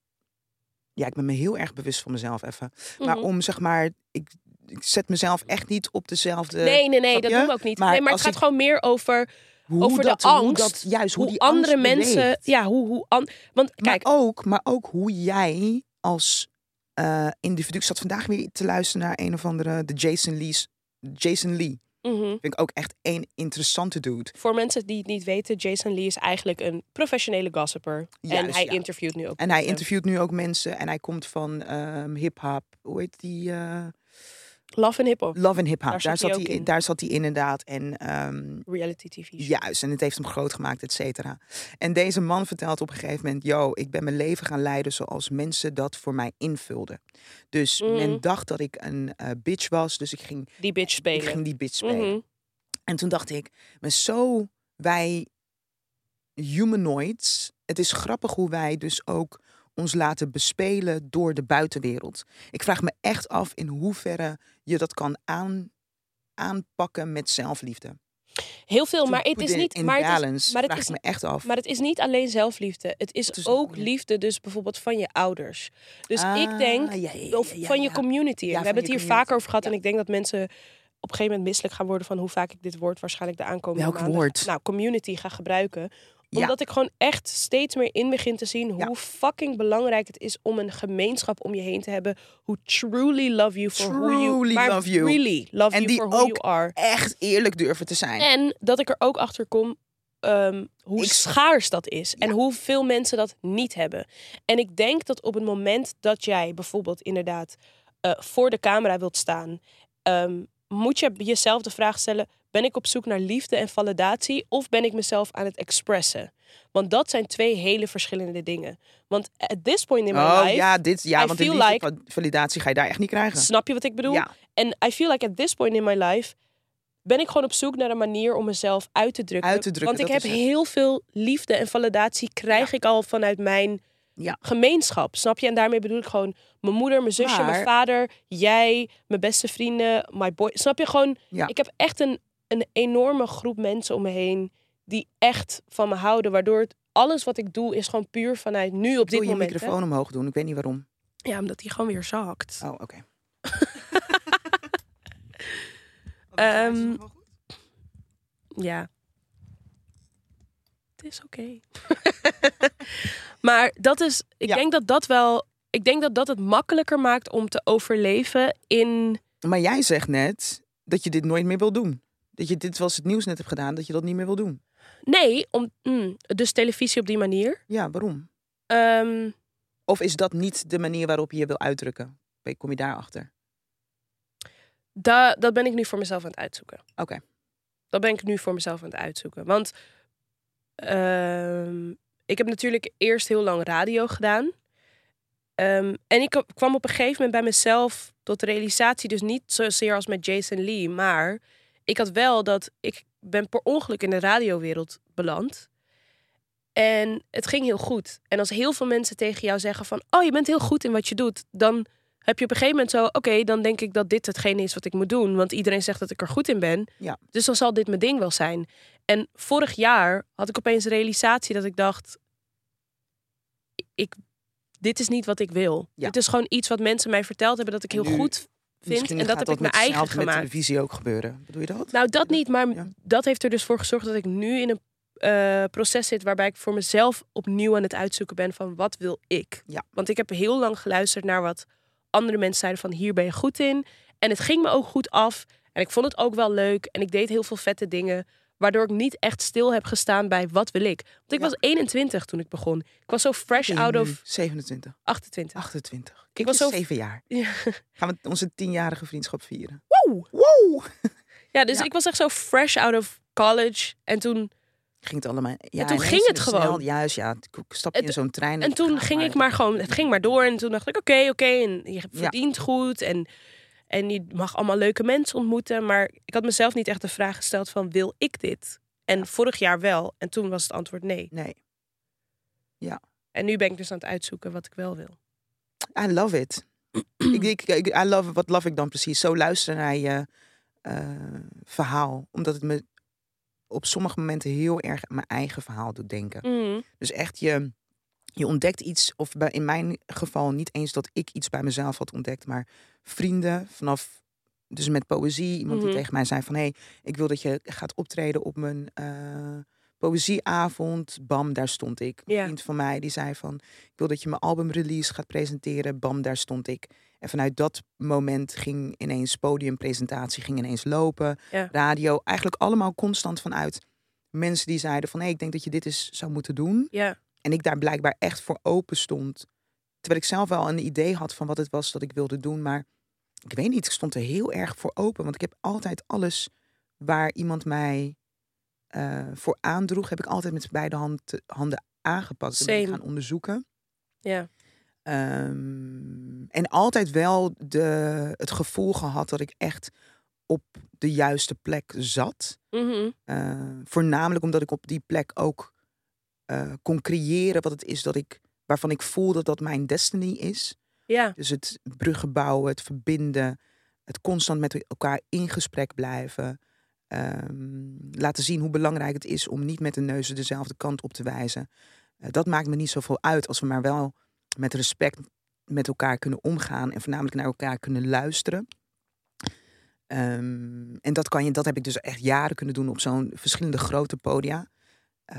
A: Ja, ik ben me heel erg bewust van mezelf even. Maar
B: Mhm.
A: om zeg maar. Ik, ik zet mezelf echt niet op dezelfde.
B: nee, nee, nee,
A: snap
B: dat
A: je?
B: doen we ook niet.
A: Maar
B: nee, maar het
A: als
B: gaat
A: ik-
B: gewoon meer over
A: hoe
B: over de
A: dat, Hoe dat,
B: angst,
A: juist, hoe,
B: hoe,
A: die
B: andere
A: angst
B: mensen.
A: beweegt.
B: Ja, hoe. hoe an- Want kijk,
A: maar ook, maar ook hoe jij als eh, individu. Ik zat vandaag weer te luisteren naar een of andere. De Jason Lee's. Jason Lee
B: Mhm.
A: Vind ik ook echt één interessante dude.
B: Voor mensen die het niet weten, Jason Lee is eigenlijk een professionele gossiper. en
A: Juist,
B: hij
A: ja.
B: interviewt nu ook.
A: En hij
B: mensen.
A: interviewt nu ook mensen en hij komt van ehm hip-hop. Hoe heet die? eh,
B: Love and Hip Hop,
A: Love and Hip-hop.
B: Daar
A: Daar,
B: zat hij
A: zat
B: ook
A: hij in-
B: in.
A: daar zat hij inderdaad. En ehm,
B: reality TV. show.
A: Juist, en het heeft hem groot gemaakt, et cetera. En deze man vertelt op een gegeven moment: Yo, ik ben mijn leven gaan leiden zoals mensen dat voor mij invulden. Dus
B: Mhm.
A: men dacht dat ik een eh, bitch was, dus ik ging,
B: Die bitch
A: ik
B: spelen.
A: ging die bitch spelen.
B: Mhm.
A: En toen dacht ik: Maar zo wij humanoids, het is grappig hoe wij dus ook ons laten bespelen door de buitenwereld. Ik vraag me echt af in hoeverre je dat kan aan, aanpakken met zelfliefde.
B: Heel veel,
A: To
B: Oh, maar het
A: put
B: is
A: it
B: niet...
A: in
B: Maar het is,
A: balance,
B: maar het
A: vraag
B: is-
A: ik me echt af.
B: Maar het is niet alleen zelfliefde. Het is,
A: Het is-
B: ook
A: ja.
B: liefde, dus bijvoorbeeld van je ouders. Dus ik denk,
A: Ah, ja, ja, ja,
B: of
A: ja,
B: van je
A: ja.
B: community.
A: Ja,
B: En we
A: van
B: hebben het
A: je community.
B: hier vaker over gehad.
A: Ja.
B: En ik denk dat mensen op een gegeven moment misselijk gaan worden van hoe vaak ik dit woord waarschijnlijk de aankomende
A: Welk
B: maanden-
A: woord?
B: Nou, community ga gebruiken.
A: Ja.
B: Omdat ik gewoon echt steeds meer in begin te zien hoe
A: Ja.
B: fucking belangrijk het is om een gemeenschap om je heen te hebben. Hoe truly love you for who you
A: Truly
B: maar
A: love you.
B: Really love
A: En
B: you
A: die
B: for who
A: ook
B: you are.
A: Echt eerlijk durven te zijn.
B: En dat ik er ook achter kom ehm, hoe
A: Ik-
B: schaars dat is. En hoeveel mensen dat niet hebben. En ik denk dat op het moment dat jij bijvoorbeeld inderdaad eh, voor de camera wilt staan, ehm, moet je jezelf de vraag stellen: ben ik op zoek naar liefde en validatie of ben ik mezelf aan het expressen? Want dat zijn twee hele verschillende dingen. Want at this point in my
A: oh
B: life,
A: ja, dit, ja
B: I
A: want de
B: feel
A: liefde
B: like-
A: van validatie ga je daar echt niet krijgen.
B: snap je wat ik bedoel?
A: Ja,
B: En I feel like at this point in my life ben ik gewoon op zoek naar een manier om mezelf uit te drukken.
A: Uit te drukken,
B: Want ik
A: dat
B: heb
A: is het.
B: heel veel liefde en validatie krijg ik al vanuit mijn
A: Ja.
B: gemeenschap. Snap je? En daarmee bedoel ik gewoon mijn moeder, mijn zusje, mijn
A: Maar-
B: vader, jij, mijn beste vrienden, my boy. Snap je gewoon?
A: Ja.
B: Ik heb echt een, een enorme groep mensen om me heen die echt van me houden. Waardoor het, alles wat ik doe is gewoon puur vanuit nu op
A: ik wil
B: dit
A: je
B: moment. hè.
A: microfoon omhoog doen. Ik weet niet waarom.
B: Ja, omdat die gewoon weer zakt.
A: Oh, oké. [LAUGHS]
B: Ehm, Ja. Het is oké. [LAUGHS] maar dat is, ik
A: Ja.
B: denk dat dat wel, ik denk dat dat het makkelijker maakt om te overleven in.
A: maar jij zegt net dat je dit nooit meer wil doen. Dat je dit was het nieuws net hebt gedaan, dat je dat niet meer wil doen.
B: Nee, om, mm, dus televisie op die manier.
A: Ja, waarom?
B: Ehm,
A: Of is dat niet de manier waarop je je wil uitdrukken? Oké, Kom je daarachter?
B: da, dat ben ik nu voor mezelf aan het uitzoeken.
A: Oké.
B: Dat ben ik nu voor mezelf aan het uitzoeken. Want ehm, ik heb natuurlijk eerst heel lang radio gedaan. Ehm, en ik kwam op een gegeven moment bij mezelf tot de realisatie, dus niet zozeer als met Jason Lee, maar ik had wel dat ik ben per ongeluk in de radiowereld beland. En het ging heel goed. En als heel veel mensen tegen jou zeggen van, oh je bent heel goed in wat je doet, dan heb je op een gegeven moment zo, oké, dan denk ik dat dit hetgene is wat ik moet doen, want iedereen zegt dat ik er goed in ben.
A: Ja.
B: Dus dan zal dit mijn ding wel zijn. En vorig jaar had ik opeens de realisatie dat ik dacht, ik, dit is niet wat ik wil.
A: Ja.
B: Dit is gewoon iets wat mensen mij verteld hebben dat ik heel
A: Nu-
B: goed vind.
A: Misschien
B: En dat
A: gaat
B: heb ik
A: met
B: mijn eigen
A: zelf- met
B: gemaakt.
A: televisie ook gebeuren. Bedoel je dat?
B: Nou, dat niet, maar
A: Ja.
B: dat heeft er dus voor gezorgd dat ik nu in een eh, proces zit waarbij ik voor mezelf opnieuw aan het uitzoeken ben van wat wil ik.
A: Ja.
B: Want ik heb heel lang geluisterd naar wat andere mensen zeiden van hier ben je goed in. En het ging me ook goed af. En ik vond het ook wel leuk. En ik deed heel veel vette dingen. Waardoor ik niet echt stil heb gestaan bij wat wil ik. Want ik
A: Ja.
B: was 21 toen ik begon. Ik was zo fresh out
A: Nu
B: of
A: 27,
B: 28.
A: 28.
B: Ik
A: Ik
B: was
A: was
B: zo-
A: 7 jaar.
B: Ja.
A: Gaan we onze tienjarige vriendschap vieren?
B: Wow!
A: Wow!
B: Ja, dus
A: Ja.
B: ik was echt zo fresh out of college. En toen
A: ging het allemaal. Ja,
B: toen
A: ineens
B: ging het
A: snel,
B: gewoon.
A: juist, ja. Ik stapte
B: Het-
A: in zo'n trein.
B: En toen
A: ga
B: ging ik maar gewoon, het ging maar door. En toen dacht ik, oké, oké, en je verdient goed. En, en je mag allemaal leuke mensen ontmoeten. Maar ik had mezelf niet echt de vraag gesteld van, wil ik dit? En vorig jaar wel. En toen was het antwoord nee.
A: Nee.
B: En nu ben ik dus aan het uitzoeken wat ik wel wil.
A: I love it. ik, ik, ik- I love, wat love ik dan precies? Zo luisteren naar je eh, verhaal. Omdat het me op sommige momenten heel erg aan mijn eigen verhaal doet denken.
B: Mhm.
A: Dus echt je, je ontdekt iets, of bij, in mijn geval niet eens dat ik iets bij mezelf had ontdekt, maar vrienden vanaf, dus met poëzie, iemand
B: Mhm.
A: die tegen mij zei van hé, hey, ik wil dat je gaat optreden op mijn eh, poëzieavond, bam, daar stond ik. Een
B: Ja.
A: vriend van mij die zei van, ik wil dat je mijn albumrelease gaat presenteren, bam, daar stond ik. En vanuit dat moment ging ineens podiumpresentatie, ging ineens lopen,
B: Ja.
A: radio. Eigenlijk allemaal constant vanuit mensen die zeiden van, hé, ik denk dat je dit eens zou moeten doen.
B: Ja,
A: En ik daar blijkbaar echt voor open stond. Terwijl ik zelf wel een idee had van wat het was dat ik wilde doen. Maar ik weet niet, ik stond er heel erg voor open. Want ik heb altijd alles waar iemand mij eh, voor aandroeg... heb ik altijd met beide hand- handen aangepakt. En ben ik
B: Same.
A: gaan onderzoeken.
B: ja,
A: Ehm, en altijd wel de, het gevoel gehad dat ik echt op de juiste plek zat.
B: Mhm.
A: Eh, voornamelijk omdat ik op die plek ook eh, kon creëren wat het is dat ik, waarvan ik voel dat dat mijn destiny is.
B: ja,
A: Dus het bruggen bouwen, het verbinden, het constant met elkaar in gesprek blijven. ehm, laten zien hoe belangrijk het is om niet met de neuzen dezelfde kant op te wijzen. Eh, dat maakt me niet zoveel uit als we maar wel met respect met elkaar kunnen omgaan en voornamelijk naar elkaar kunnen luisteren. Ehm, en dat, kan je, dat heb ik dus echt jaren kunnen doen op zo'n verschillende grote podia. Eh,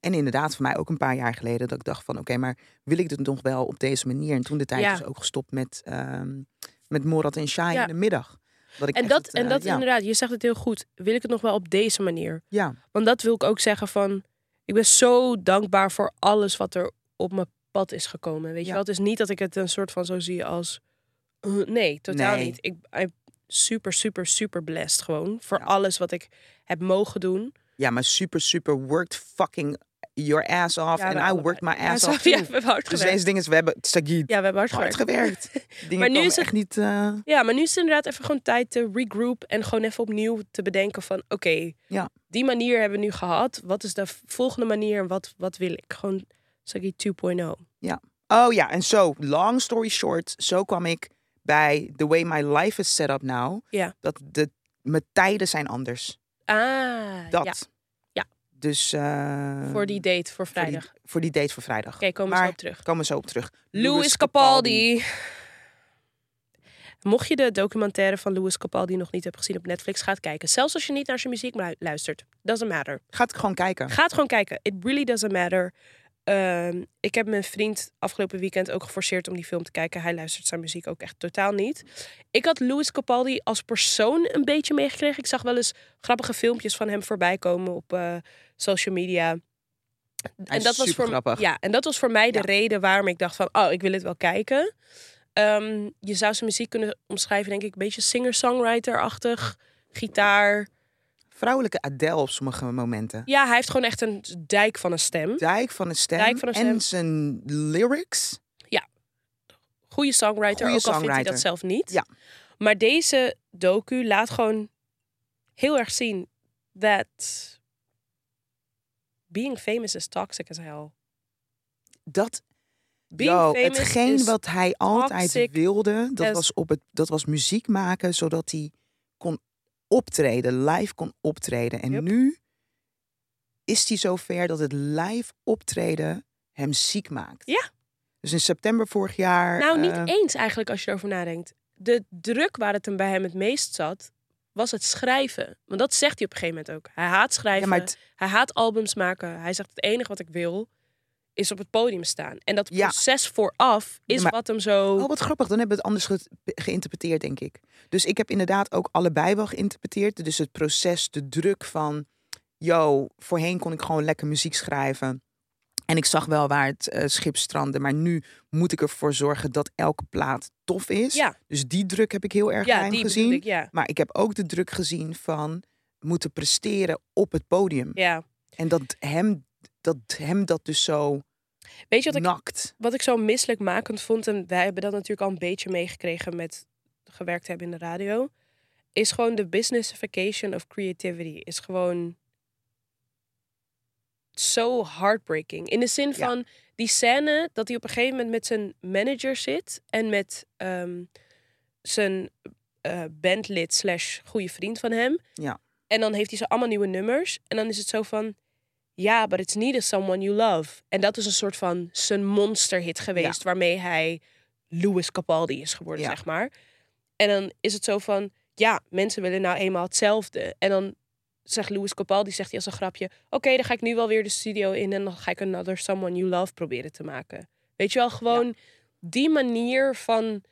A: en inderdaad, voor mij ook een paar jaar geleden dat ik dacht van oké, maar wil ik dit nog wel op deze manier? En toen de tijd
B: Ja.
A: dus ook gestopt met, ehm, met Morat en Shai
B: Ja.
A: in de middag. Dat ik
B: En
A: echt
B: dat,
A: het,
B: en
A: eh,
B: dat
A: ja,
B: inderdaad, je zegt het heel goed. Wil ik het nog wel op deze manier?
A: ja,
B: Want dat wil ik ook zeggen van... Ik ben zo dankbaar voor alles wat er op mijn pad is gekomen. Weet
A: Ja.
B: je wel? Het is niet dat ik het een soort van zo zie als... eh, nee, totaal
A: Nee.
B: niet. Ik ben super, super, super blessed gewoon. Voor
A: Ja.
B: alles wat ik heb mogen doen.
A: ja, maar super, super worked fucking your ass off.
B: Ja,
A: en
B: we
A: I
B: allebei.
A: worked my
B: Ja,
A: ass
B: zo-
A: off
B: [LAUGHS] ja,
A: too.
B: we hebben hard
A: Dus
B: gewerkt.
A: deze dingen is, we hebben het
B: Ja, we hebben hard
A: hard
B: gewerkt. [LAUGHS]
A: gewerkt. Dingen maar nu is het... echt niet... eh,
B: Ja, maar nu is het inderdaad even gewoon tijd te regroup en gewoon even opnieuw te bedenken van oké,
A: Ja.
B: die manier hebben we nu gehad. Wat is de volgende manier en wat, wat wil ik? Gewoon Sagi 2.0.
A: Oh ja, en zo, long story short, zo kwam ik bij The Way My Life Is Set Up Now.
B: Ja.
A: Dat de, mijn tijden zijn anders.
B: Ah,
A: Dat.
B: ja. Ja.
A: Dus eh,
B: Voor die date voor
A: voor die-
B: vrijdag. Oké,
A: Voor die, date voor vrijdag.
B: komen we
A: maar-
B: zo op terug.
A: Komen we zo op terug.
B: Louis Capaldi. Mocht je de documentaire van Louis Capaldi nog niet hebben gezien op Netflix, ga het kijken. Zelfs als je niet naar zijn muziek lu- luistert. Doesn't matter.
A: Gaat ik gewoon kijken.
B: Ga het gewoon kijken. It really doesn't matter. Ehm, ik heb mijn vriend afgelopen weekend ook geforceerd om die film te kijken. Hij luistert zijn muziek ook echt totaal niet. Ik had Louis Capaldi als persoon een beetje meegekregen. Ik zag wel eens grappige filmpjes van hem voorbij komen op eh, social media.
A: Hij is
B: voor,
A: supergrappig.
B: Ja, en dat was voor mij de
A: Ja.
B: reden waarom ik dacht van... oh, ik wil het wel kijken. Ehm, je zou zijn muziek kunnen omschrijven, denk ik... een beetje singer-songwriter-achtig. Gitaar.
A: Vrouwelijke Adele op sommige momenten.
B: Ja, hij heeft gewoon echt een dijk van een stem.
A: Dijk van een stem,
B: Dijk van een
A: en zijn lyrics.
B: goede songwriter,
A: Goeie
B: ook al vindt hij
A: songwriter.
B: dat zelf niet.
A: Ja.
B: Maar deze docu laat gewoon heel erg zien dat being famous is toxic as hell.
A: Dat,
B: Being
A: yo,
B: famous
A: hetgeen
B: is
A: wat hij altijd
B: toxic
A: wilde, dat
B: as-
A: was, op het, dat was muziek maken, zodat hij kon optreden, live kon optreden. En
B: Yup.
A: nu is hij zover dat het live optreden hem ziek maakt.
B: Ja.
A: Dus in september vorig jaar...
B: Nou, niet
A: eh,
B: eens eigenlijk als je erover nadenkt. De druk waar het hem bij hem het meest zat, was het schrijven. Want dat zegt hij op een gegeven moment ook. Hij haat schrijven,
A: ja, maar het-
B: hij haat albums maken. Hij zegt het enige wat ik wil is op het podium staan. En dat
A: Ja.
B: proces vooraf is
A: Ja, maar-
B: wat hem zo...
A: Oh, wat grappig. Dan hebben we het anders ge- geïnterpreteerd, denk ik. Dus ik heb inderdaad ook allebei wel geïnterpreteerd. Dus het proces, de druk van... Yo, voorheen kon ik gewoon lekker muziek schrijven. En ik zag wel waar het eh, schip strandde. Maar nu moet ik ervoor zorgen dat elke plaat tof is.
B: Ja.
A: Dus die druk heb ik heel erg bij
B: ja,
A: hem
B: die
A: gezien.
B: bedoel ik, ja.
A: Maar ik heb ook de druk gezien van moeten presteren op het podium.
B: Ja.
A: En dat hem, dat hem dat dus zo
B: Weet je wat ik
A: nakt.
B: wat ik zo misselijkmakend vond, en wij hebben dat natuurlijk al een beetje meegekregen met gewerkt hebben in de radio, is gewoon de businessification of creativity. Is gewoon zo heartbreaking. In de zin
A: Ja.
B: van die scène dat hij op een gegeven moment met zijn manager zit en met ehm, zijn eh, bandlid slash goede vriend van hem.
A: Ja.
B: En dan heeft hij ze allemaal nieuwe nummers. En dan is het zo van, ja, but it's needed someone you love. En dat is een soort van zijn monsterhit geweest... waarmee hij Louis Capaldi is geworden,
A: Ja.
B: zeg maar. En dan is het zo van, ja, mensen willen nou eenmaal hetzelfde. En dan zegt Louis Capaldi, zegt hij als een grapje... Oké, dan ga ik nu wel weer de studio in en dan ga ik Another Someone You Love proberen te maken. Weet je wel, gewoon die manier van,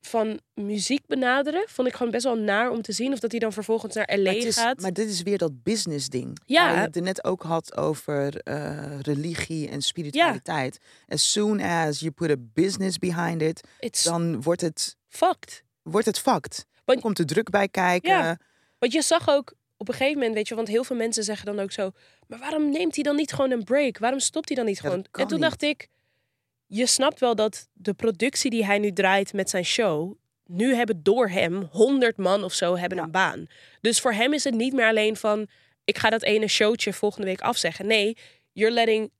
B: van muziek benaderen... vond ik gewoon best wel naar om te zien. Of dat hij dan vervolgens naar L.A.
A: Maar, het is-
B: gaat.
A: maar dit is weer dat business ding.
B: Ja.
A: Waar je het er net ook had over eh, religie en spiritualiteit. As soon as you put a business behind it,
B: It's
A: dan wordt het,
B: fucked.
A: wordt het fact.
B: Want-
A: komt de druk bij kijken.
B: Ja. Want je zag ook op een gegeven moment, weet je, want heel veel mensen zeggen dan ook zo: maar waarom neemt hij dan niet gewoon een break? Waarom stopt hij dan niet
A: dat
B: gewoon?
A: kan
B: en toen
A: niet.
B: dacht ik: je snapt wel dat de productie die hij nu draait met zijn show, nu hebben door hem 100 man of zo hebben
A: Ja.
B: een baan. Dus voor hem is het niet meer alleen van: ik ga dat ene showtje volgende week afzeggen. Nee, you're letting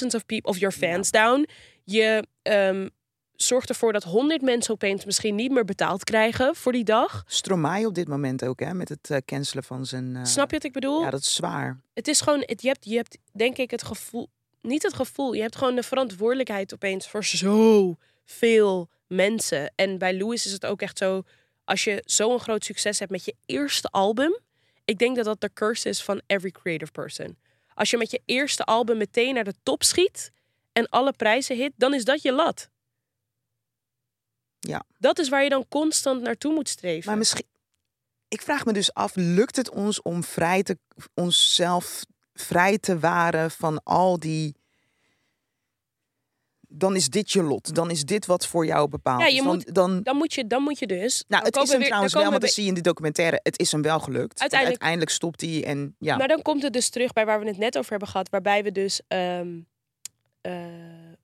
B: 10.000 of people of your fans down. Je ehm, zorgt ervoor dat 100 mensen opeens misschien niet meer betaald krijgen voor die dag.
A: Stromae op dit moment ook, hè, met het eh, cancelen van zijn... eh,
B: Snap je wat ik bedoel?
A: Ja, dat is zwaar.
B: het is gewoon, het, je, hebt, je hebt denk ik het gevoel, niet het gevoel, je hebt gewoon de verantwoordelijkheid opeens voor zo veel mensen. En bij Louis is het ook echt zo, als je zo'n groot succes hebt met je eerste album, ik denk dat dat de curse is van every creative person. Als je met je eerste album meteen naar de top schiet en alle prijzen hit, dan is dat je lat.
A: Ja.
B: Dat is waar je dan constant naartoe moet streven.
A: Maar misschien... Ik vraag me dus af, lukt het ons om vrij te, onszelf vrij te waren van al die... Dan is dit je lot. Dan is dit wat voor jou bepaalt.
B: Ja, je
A: Dus dan,
B: moet-
A: dan,
B: dan, moet je, dan moet je dus.
A: nou, het
B: dan komen
A: is
B: we
A: hem
B: weer- dan
A: trouwens wel,
B: komen
A: want
B: we
A: dat zie je in die documentaire. Het is hem wel gelukt. Want
B: Uiteindelijk-
A: uiteindelijk stopt hij en ja.
B: Maar dan komt het dus terug bij waar we het net over hebben gehad. Waarbij we dus ehm, eh,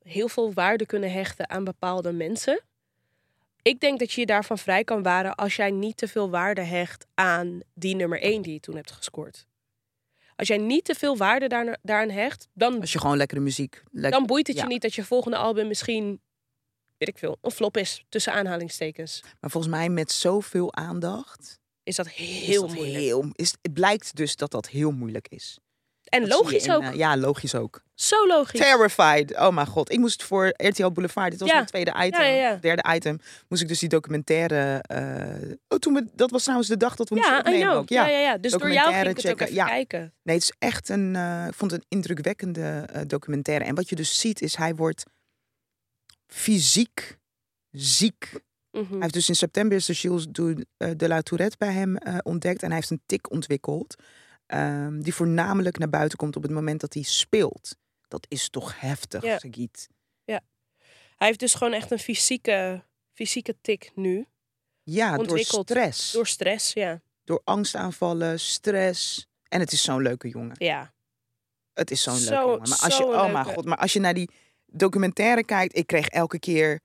B: heel veel waarde kunnen hechten aan bepaalde mensen. Ik denk dat je je daarvan vrij kan waren als jij niet te veel waarde hecht aan die nummer 1 die je toen hebt gescoord. Als jij niet te veel waarde daarna- daaraan hecht, dan,
A: Als je gewoon lekkere muziek... lek-
B: dan boeit het
A: ja.
B: je niet dat je volgende album misschien, weet ik veel, een flop is. Tussen aanhalingstekens.
A: Maar volgens mij met zoveel aandacht...
B: Is dat
A: is
B: heel
A: dat
B: moeilijk.
A: heel- is, het blijkt dus dat dat heel moeilijk is.
B: en
A: Dat zie je
B: logisch
A: in,
B: ook.
A: eh, ja, logisch ook.
B: Zo logisch.
A: Terrified. Oh mijn god. Ik moest voor RTL Boulevard, dit was
B: Ja.
A: mijn tweede item,
B: Ja, ja, ja.
A: derde item, moest ik dus die documentaire... eh, oh, toen we, dat was trouwens de dag dat we moesten
B: Ja, I
A: opnemen
B: know.
A: ook.
B: Ja. Ja, ja, Dus door jou ging ik
A: Documentaire
B: het
A: checken,
B: ook even
A: ja.
B: kijken.
A: Nee, het is echt een, eh, ik vond het een indrukwekkende eh, documentaire. En wat je dus ziet is, hij wordt fysiek ziek.
B: Mhm.
A: Hij heeft dus in september is de Gilles du- eh, de la Tourette bij hem eh, ontdekt. En hij heeft een tik ontwikkeld. ehm, die voornamelijk naar buiten komt op het moment dat hij speelt. Dat is toch heftig,
B: Ja.
A: Sagiet.
B: Hij heeft dus gewoon echt een fysieke, fysieke tik nu.
A: Ja, door
B: Ontwikkeld
A: stress. Door...
B: Door stress, ja.
A: angstaanvallen, stress. En het is zo'n leuke jongen.
B: Ja,
A: Het is zo'n
B: Zo-
A: leuke jongen. Maar als je,
B: zo'n
A: oh mijn
B: leuke.
A: god, maar als je naar die documentaire kijkt, ik kreeg elke keer.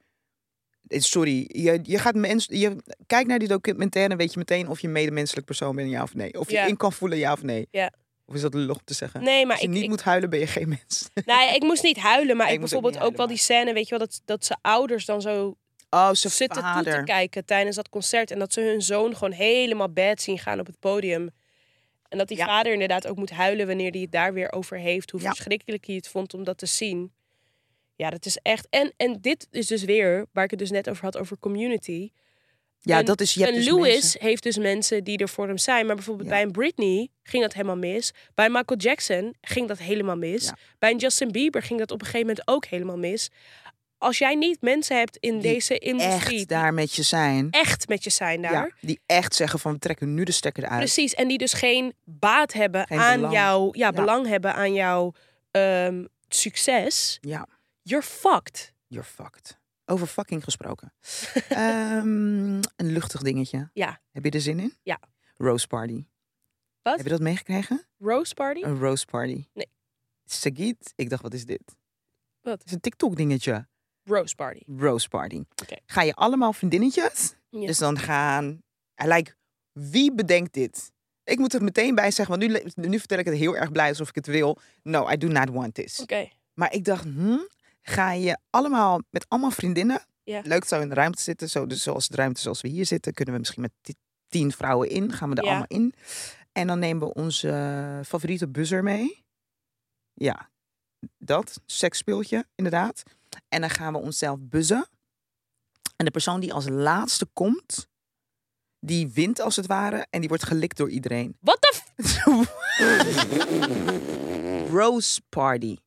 A: eh, Sorry, je, je gaat mens, je kijkt naar die documentaire en weet je meteen of je een medemenselijk persoon bent, ja of nee. Of je
B: Ja.
A: in kan voelen, ja of nee.
B: Ja.
A: Of is dat lullig om te zeggen?
B: nee, maar
A: als je
B: ik,
A: niet
B: ik,
A: moet huilen, ben je geen mens. [LAUGHS]
B: [LAUGHS] nou ja, ik moest niet huilen.
A: Nee,
B: Maar ik
A: je moest ook niet
B: bijvoorbeeld ook wel die scène, weet je wel, dat, dat zijn ouders dan zo
A: Oh, zijn
B: zitten toe te
A: vader.
B: kijken tijdens dat concert. En dat ze hun zoon gewoon helemaal bad zien gaan op het podium. En dat die
A: Ja.
B: vader inderdaad ook moet huilen wanneer hij het daar weer over heeft. Hoe
A: Ja.
B: verschrikkelijk hij het vond om dat te zien. Ja, dat is echt. En, en dit is dus weer, waar ik het dus net over had, over community.
A: Ja,
B: En-
A: dat is je hebt
B: en
A: dus
B: Lewis
A: mensen-
B: heeft dus mensen die er voor hem zijn. Maar bijvoorbeeld
A: Ja.
B: bij een Britney ging dat helemaal mis. Bij Michael Jackson ging dat helemaal mis.
A: Ja.
B: Bij een Justin Bieber ging dat op een gegeven moment ook helemaal mis. Als jij niet mensen hebt in
A: Die
B: deze industrie
A: echt daar met je zijn.
B: die echt met je zijn daar.
A: Ja, die echt zeggen van we trekken nu de stekker eruit.
B: Precies, en die dus geen baat hebben
A: Geen
B: aan
A: belang.
B: jouw... Ja, belang hebben aan jouw ehm, succes.
A: Ja.
B: You're fucked.
A: You're fucked. Over fucking
B: [LAUGHS]
A: gesproken. Ehm, een luchtig dingetje.
B: Ja.
A: Heb je er zin in?
B: Ja.
A: Rose party.
B: Wat?
A: Heb je dat Oh. meegekregen?
B: Rose party?
A: Een rose party.
B: Nee.
A: Sagiet, ik dacht, wat is dit?
B: Wat?
A: Het is een TikTok dingetje.
B: Rose party.
A: Rose party.
B: Oké.
A: Ga je allemaal vriendinnetjes?
B: Ja.
A: Dus dan gaan... I like, wie bedenkt dit? Ik moet er meteen bij zeggen, want nu, le- nu vertel ik het heel erg blij alsof ik het wil. No, I do not want this.
B: Oké.
A: Maar ik dacht, hm, ga je allemaal met allemaal vriendinnen?
B: Ja.
A: Leuk zo in de ruimte zitten. Zo, dus zoals de ruimte zoals we hier zitten, kunnen we misschien met ti- tien vrouwen in. Gaan we er
B: Ja.
A: allemaal in. En dan nemen we onze eh, favoriete buzzer mee. Ja, dat. Seksspeeltje, inderdaad. En dan gaan we onszelf buzzen. En de persoon die als laatste komt, Die wint als het ware en die wordt gelikt door iedereen.
B: Wat de f-
A: [LAUGHS] Rose Party.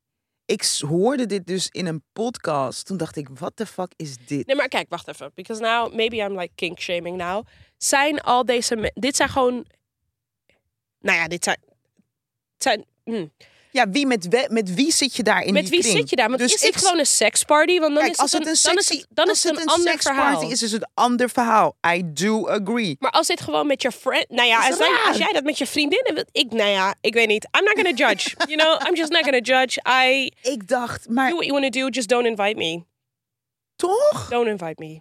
A: Ik s- hoorde dit dus in een podcast. Toen dacht ik, wat de fuck is dit?
B: Nee, maar kijk, wacht even. Because now, maybe I'm like kink shaming now. Zijn al deze... me- Dit zijn gewoon... Nou ja, dit zijn... het zijn hm.
A: Ja, wie met, we- met wie zit je daar in
B: Met
A: die
B: wie
A: kring?
B: zit je daar? Want
A: Dus
B: is dit
A: ik s-
B: gewoon een seksparty? Want dan
A: Kijk,
B: is
A: als
B: het
A: het
B: een,
A: een
B: dan is
A: sexy-
B: het, dan
A: als
B: is het een,
A: een
B: ander
A: seksparty
B: verhaal.
A: is, is het een ander verhaal. I do agree.
B: Maar als dit gewoon met je friend... Nou ja,
A: Is
B: als, jij-
A: raar.
B: als jij dat met je vriendinnen wilt... Ik, nou ja, ik weet niet. I'm not gonna
A: [LAUGHS]
B: judge. you know, I'm just not gonna judge. I
A: Ik dacht, maar
B: do what you wanna do, just don't invite me.
A: toch?
B: Don't invite me.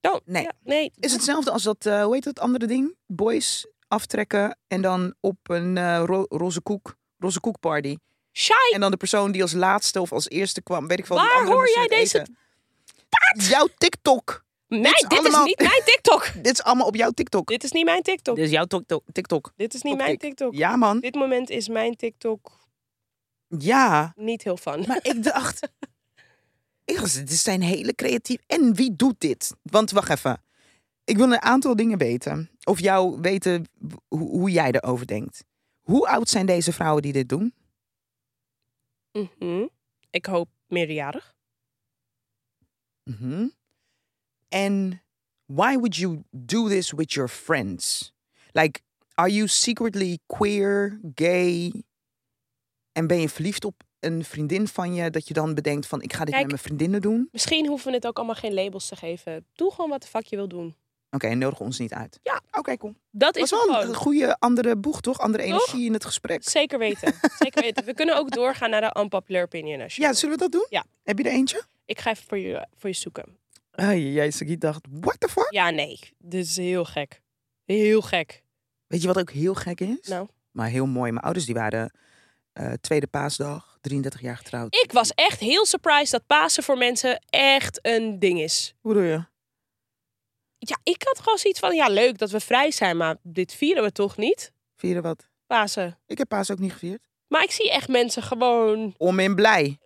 B: Don't.
A: Nee.
B: Ja, nee.
A: Is hetzelfde als dat, eh, hoe heet dat andere ding? Boys aftrekken en dan op een eh, ro- roze koek, roze koekparty.
B: Shy.
A: [LAUGHS] En dan de persoon die als laatste of als eerste kwam, weet ik wel. die
B: Waar
A: andere
B: hoor
A: moest
B: jij
A: uit
B: deze
A: eten. Jouw TikTok.
B: Nee,
A: is
B: dit
A: allemaal-
B: is niet mijn
A: [LAUGHS]
B: TikTok.
A: Dit is allemaal op jouw TikTok.
B: dit is niet mijn TikTok.
A: Dit is jouw TikTok. TikTok.
B: Dit is niet
A: Op
B: mijn
A: tik.
B: TikTok.
A: Ja, man.
B: Dit moment is mijn TikTok
A: Ja.
B: niet heel fun.
A: Maar ik [LAUGHS] dacht... Ik dacht, dit zijn hele creatief... En wie doet dit? Want wacht even. Ik wil een aantal dingen weten. Of jou weten hoe, hoe jij erover denkt. Hoe oud zijn deze vrouwen die dit doen?
B: [LAUGHS] Mhm. Ik hoop meerderjarig.
A: Mhm. En why would you do this with your friends? Like, are you secretly queer, gay? En ben je verliefd op een vriendin van je dat je dan bedenkt van ik ga dit
B: Kijk.
A: met mijn vriendinnen doen?
B: Misschien hoeven we het ook allemaal geen labels te geven. Doe gewoon wat de fuck je wil doen.
A: Oké, en nodig ons niet uit.
B: Ja.
A: Oké, cool.
B: Dat
A: Dat
B: is
A: was wel
B: gewoon.
A: een goede andere boeg, toch? Andere
B: Toch?
A: energie in het gesprek.
B: Zeker
A: [LAUGHS]
B: weten. Zeker weten. We kunnen ook doorgaan naar de unpopular opinion. Als je
A: Ja,
B: wil.
A: zullen we dat doen?
B: Ja.
A: Heb je er eentje?
B: Ik ga even voor je, voor je zoeken.
A: Ai, jij ik dacht, what the fuck?
B: Ja, nee. Dit is heel gek. Heel gek.
A: Weet je wat ook heel gek is?
B: Nou.
A: Maar heel mooi. Mijn ouders die waren eh, tweede paasdag, 33 jaar getrouwd.
B: Ik was echt heel surprised dat Pasen voor mensen echt een ding is.
A: Hoe doe je?
B: Ja, ik had gewoon zoiets van, ja leuk dat we vrij zijn, maar dit vieren we toch niet?
A: Vieren wat?
B: Pasen.
A: Ik heb paas ook niet gevierd.
B: Maar ik zie echt mensen gewoon
A: Om in blij.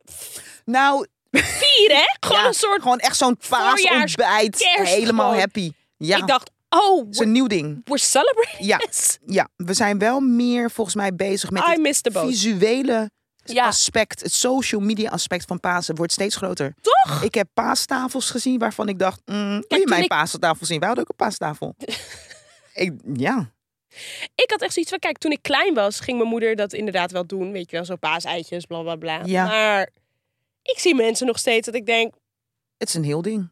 A: Nou,
B: vieren, hè? Gewoon
A: ja,
B: een soort...
A: gewoon echt zo'n paasontbijt.
B: kerst
A: Helemaal
B: gewoon.
A: happy. Ja,
B: Ik
A: het
B: dacht, oh,
A: is een
B: we're,
A: nieuw ding.
B: we're celebrating [LAUGHS]
A: Ja,
B: this.
A: ja, we zijn wel meer volgens mij bezig met
B: I
A: het
B: missed the boat.
A: visuele
B: Ja,
A: aspect, het social media aspect van Pasen wordt steeds groter.
B: toch?
A: Ik heb paastafels gezien waarvan ik dacht, mm, wil je
B: toen
A: mijn
B: ik-
A: paastafel zien? Wij hadden ook een paastafel. ik, ja,
B: Ik had echt zoiets van, kijk, toen ik klein was, ging mijn moeder dat inderdaad wel doen. Weet je wel, zo paaseitjes, bla bla bla.
A: Ja.
B: Maar ik zie mensen nog steeds dat ik denk,
A: het is een heel ding.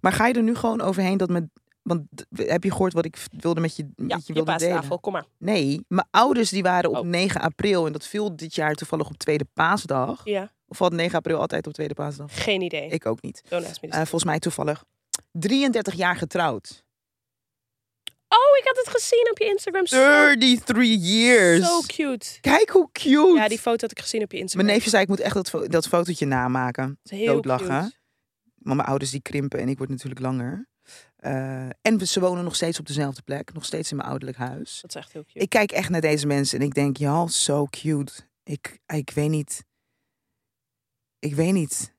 A: Maar ga je er nu gewoon overheen dat met... Want d- heb je gehoord wat ik v- wilde met je,
B: ja,
A: met je
B: je
A: wilde delen?
B: paastafel, kom maar.
A: Nee, mijn ouders die waren op
B: Oh.
A: 9 april. En dat viel dit jaar toevallig op tweede paasdag.
B: Ja,
A: Of had 9 april altijd op tweede paasdag?
B: geen idee.
A: Ik ook niet.
B: Don't ask me
A: Eh,
B: this.
A: volgens mij toevallig. 33 jaar getrouwd.
B: Oh, ik had het gezien op je Instagram. Zo,
A: 33 years.
B: zo cute.
A: Kijk hoe cute.
B: Ja, die foto had ik gezien op je Instagram.
A: Mijn neefje zei, ik moet echt dat, fo- dat fotootje namaken.
B: Dat is heel
A: doodlachen,
B: cute.
A: hè? Maar mijn ouders die krimpen en ik word natuurlijk langer. Eh, en we- ze wonen nog steeds op dezelfde plek. Nog steeds in mijn ouderlijk huis.
B: Dat is echt heel cute.
A: Ik kijk echt naar deze mensen en ik denk, ja, zo cute. Ik, ik weet niet. Ik weet niet.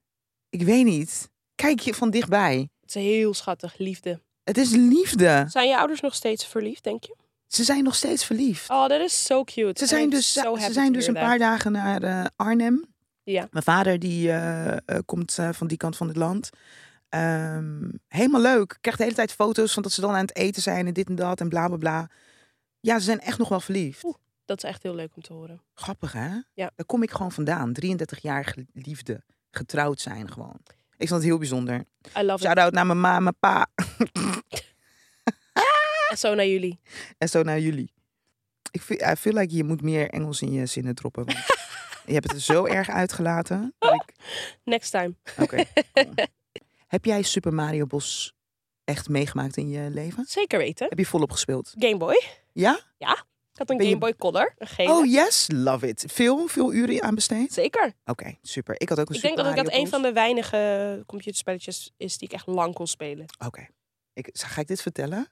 A: Ik weet niet. Kijk je van dichtbij.
B: Het is heel schattig, liefde.
A: Het is liefde.
B: Zijn je ouders nog steeds verliefd, denk je?
A: Ze zijn nog steeds verliefd.
B: Oh, dat is zo cute.
A: Ze zijn dus, ze zijn dus een paar dagen naar eh, Arnhem.
B: Ja.
A: Mijn vader die eh, eh, komt eh, van die kant van het land. Ehm, helemaal leuk. Ik krijg de hele tijd foto's van dat ze dan aan het eten zijn en dit en dat en bla bla bla. Ja, ze zijn echt nog wel verliefd.
B: Oeh. Dat is echt heel leuk om te horen.
A: Grappig hè?
B: Ja.
A: Daar kom ik gewoon vandaan. 33 jaar liefde. Getrouwd zijn gewoon. Ik vond het heel bijzonder.
B: I love it.
A: Shout-out naar mijn ma, mijn pa
B: En zo naar jullie.
A: en zo naar jullie. Ik feel, I feel like je moet meer Engels in je zinnen droppen.
B: [LAUGHS]
A: Want je hebt het er zo erg uitgelaten. dat ik-
B: Next time.
A: Oké.
B: [LAUGHS]
A: cool. Heb jij Super Mario Bros echt meegemaakt in je leven?
B: Zeker weten.
A: Heb je volop gespeeld?
B: Game Boy. Ik
A: Ja?
B: had een
A: Ben je-
B: Game Boy Color. Een gele.
A: Oh yes, love it. Veel, veel uren aan besteed?
B: Zeker.
A: Oké, super. Ik had ook een
B: Ik
A: Super
B: denk dat ik dat
A: Mario
B: een van de weinige computerspelletjes is die ik echt lang kon spelen.
A: Bros. Oké. Ik Ga ik dit vertellen?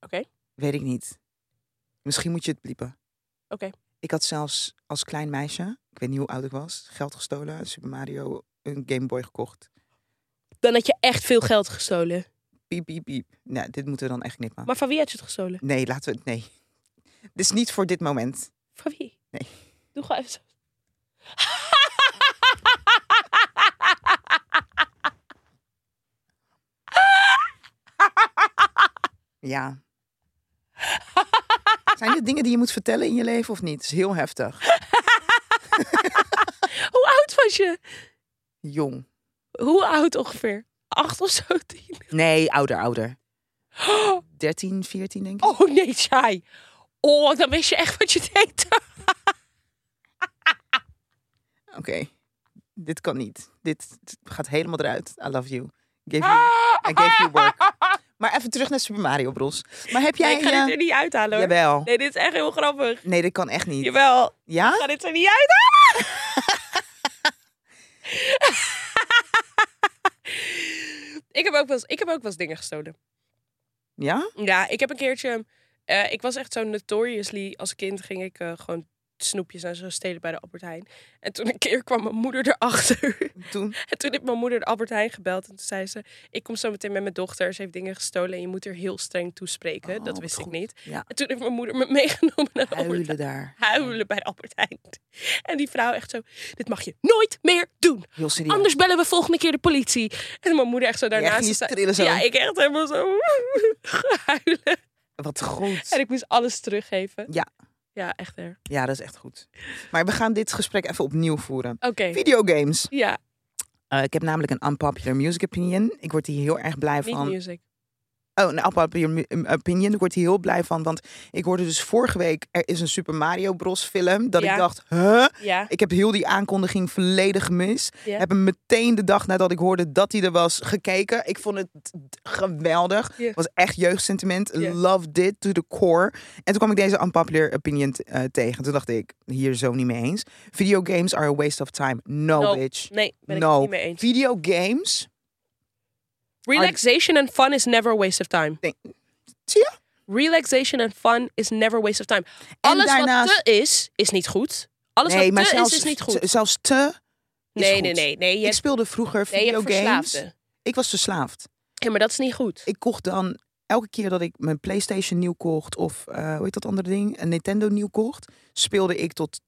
B: Oké.
A: Weet ik niet. Misschien moet je het bliepen.
B: Oké.
A: Ik had zelfs als klein meisje, ik weet niet hoe oud ik was, geld gestolen. Super Mario, een Game Boy gekocht.
B: Dan had je echt veel geld gestolen.
A: piep, piep, piep. Nou, dit moeten we dan echt knippen.
B: Maar van wie heb je het gestolen?
A: Nee, laten we het. Nee. [LAUGHS] Dit is niet voor dit moment.
B: Van wie?
A: Nee.
B: Doe gewoon even zo.
A: Ja. Zijn dit dingen die je moet vertellen in je leven of niet? Het is heel heftig.
B: Hoe oud was je?
A: Jong.
B: Hoe oud ongeveer? Acht of zo, tien?
A: Nee, ouder, ouder. 13, 14 denk ik.
B: Oh nee, saai. Oh, dan wist je echt wat je deed. Oh.
A: Oké. Dit kan niet. Dit gaat helemaal eruit. I love you. I gave you, I
B: Ik
A: gave you work.
B: [LAUGHS]
A: Maar even terug naar Super Mario Bros. Maar heb jij...
B: Nee, ik ga
A: eh,
B: dit er niet uithalen hoor.
A: Jawel.
B: Nee, dit is echt heel grappig.
A: Nee, dat kan echt niet.
B: Jawel, ik
A: Ja?
B: ga dit er niet Ah! uithalen. [LAUGHS] ik, heb ook wel eens, ik heb ook wel eens dingen gestolen.
A: Ja?
B: Ja, ik heb een keertje... eh, ik was echt zo notoriously... Als kind ging ik eh, gewoon snoepjes en zo stelen bij de Albert Heijn. En toen een keer kwam mijn moeder erachter. [LAUGHS]
A: Toen?
B: En toen heeft mijn moeder de Albert Heijn gebeld. En toen zei ze, ik kom zo meteen met mijn dochter. Ze heeft dingen gestolen en je moet er heel streng toespreken.
A: Oh,
B: dat
A: wat
B: wist ik
A: goed.
B: niet.
A: Ja.
B: En toen heeft mijn moeder me [LAUGHS] meegenomen naar de
A: Huilen
B: Albert Heijn.
A: daar.
B: Huilen bij de Albert Heijn. En die vrouw echt zo, dit mag je nooit meer doen.
A: Heel serieus. [LAUGHS]
B: Anders bellen we volgende keer de politie. En mijn moeder echt zo
A: echt
B: daarnaast.
A: niet
B: zei-
A: trillen zo.
B: Ja, ik echt helemaal zo [LAUGHS] huilen.
A: Wat goed.
B: En ik moest alles teruggeven.
A: Ja.
B: Ja, echt er.
A: Ja, dat is echt goed. Maar we gaan dit gesprek even opnieuw voeren.
B: Oké.
A: Videogames.
B: Ja,
A: Eh, ik heb namelijk een unpopular music opinion. Ik word hier heel erg blij
B: niet
A: van.
B: music.
A: Oh, een unpopular mu- um, opinion. Ik word hier heel blij van. Want ik hoorde dus vorige week... Er is een Super Mario Bros. film. Dat
B: Ja.
A: ik dacht... Huh?
B: Ja.
A: Ik heb heel die aankondiging volledig gemist.
B: Ja.
A: Heb hem meteen de dag nadat ik hoorde dat hij er was gekeken. Ik vond het geweldig.
B: Ja.
A: Het was echt jeugdsentiment.
B: Ja.
A: Loved it to the core. En toen kwam ik deze unpopular opinion eh, tegen. Toen dacht ik, hier zo niet mee eens. Videogames are a waste of time. No,
B: No.
A: bitch.
B: Nee, ben ik
A: no.
B: het niet mee eens.
A: Videogames?
B: Relaxation and fun is never a waste of time.
A: Nee. Zie je?
B: Relaxation and fun is never a waste of time. Alles
A: daarnaast-
B: wat te is, is niet goed. Alles
A: nee,
B: wat
A: maar
B: te
A: zelfs,
B: is, is niet goed.
A: z- zelfs te... is
B: nee,
A: goed.
B: nee, nee, nee. Je
A: Ik
B: hebt,
A: speelde vroeger
B: nee, je hebt
A: videogames.
B: verslaafde.
A: Ik was verslaafd.
B: Ja, maar dat is niet goed.
A: ik kocht dan elke keer dat ik mijn PlayStation nieuw kocht of eh, hoe heet dat andere ding, een Nintendo nieuw kocht, speelde ik tot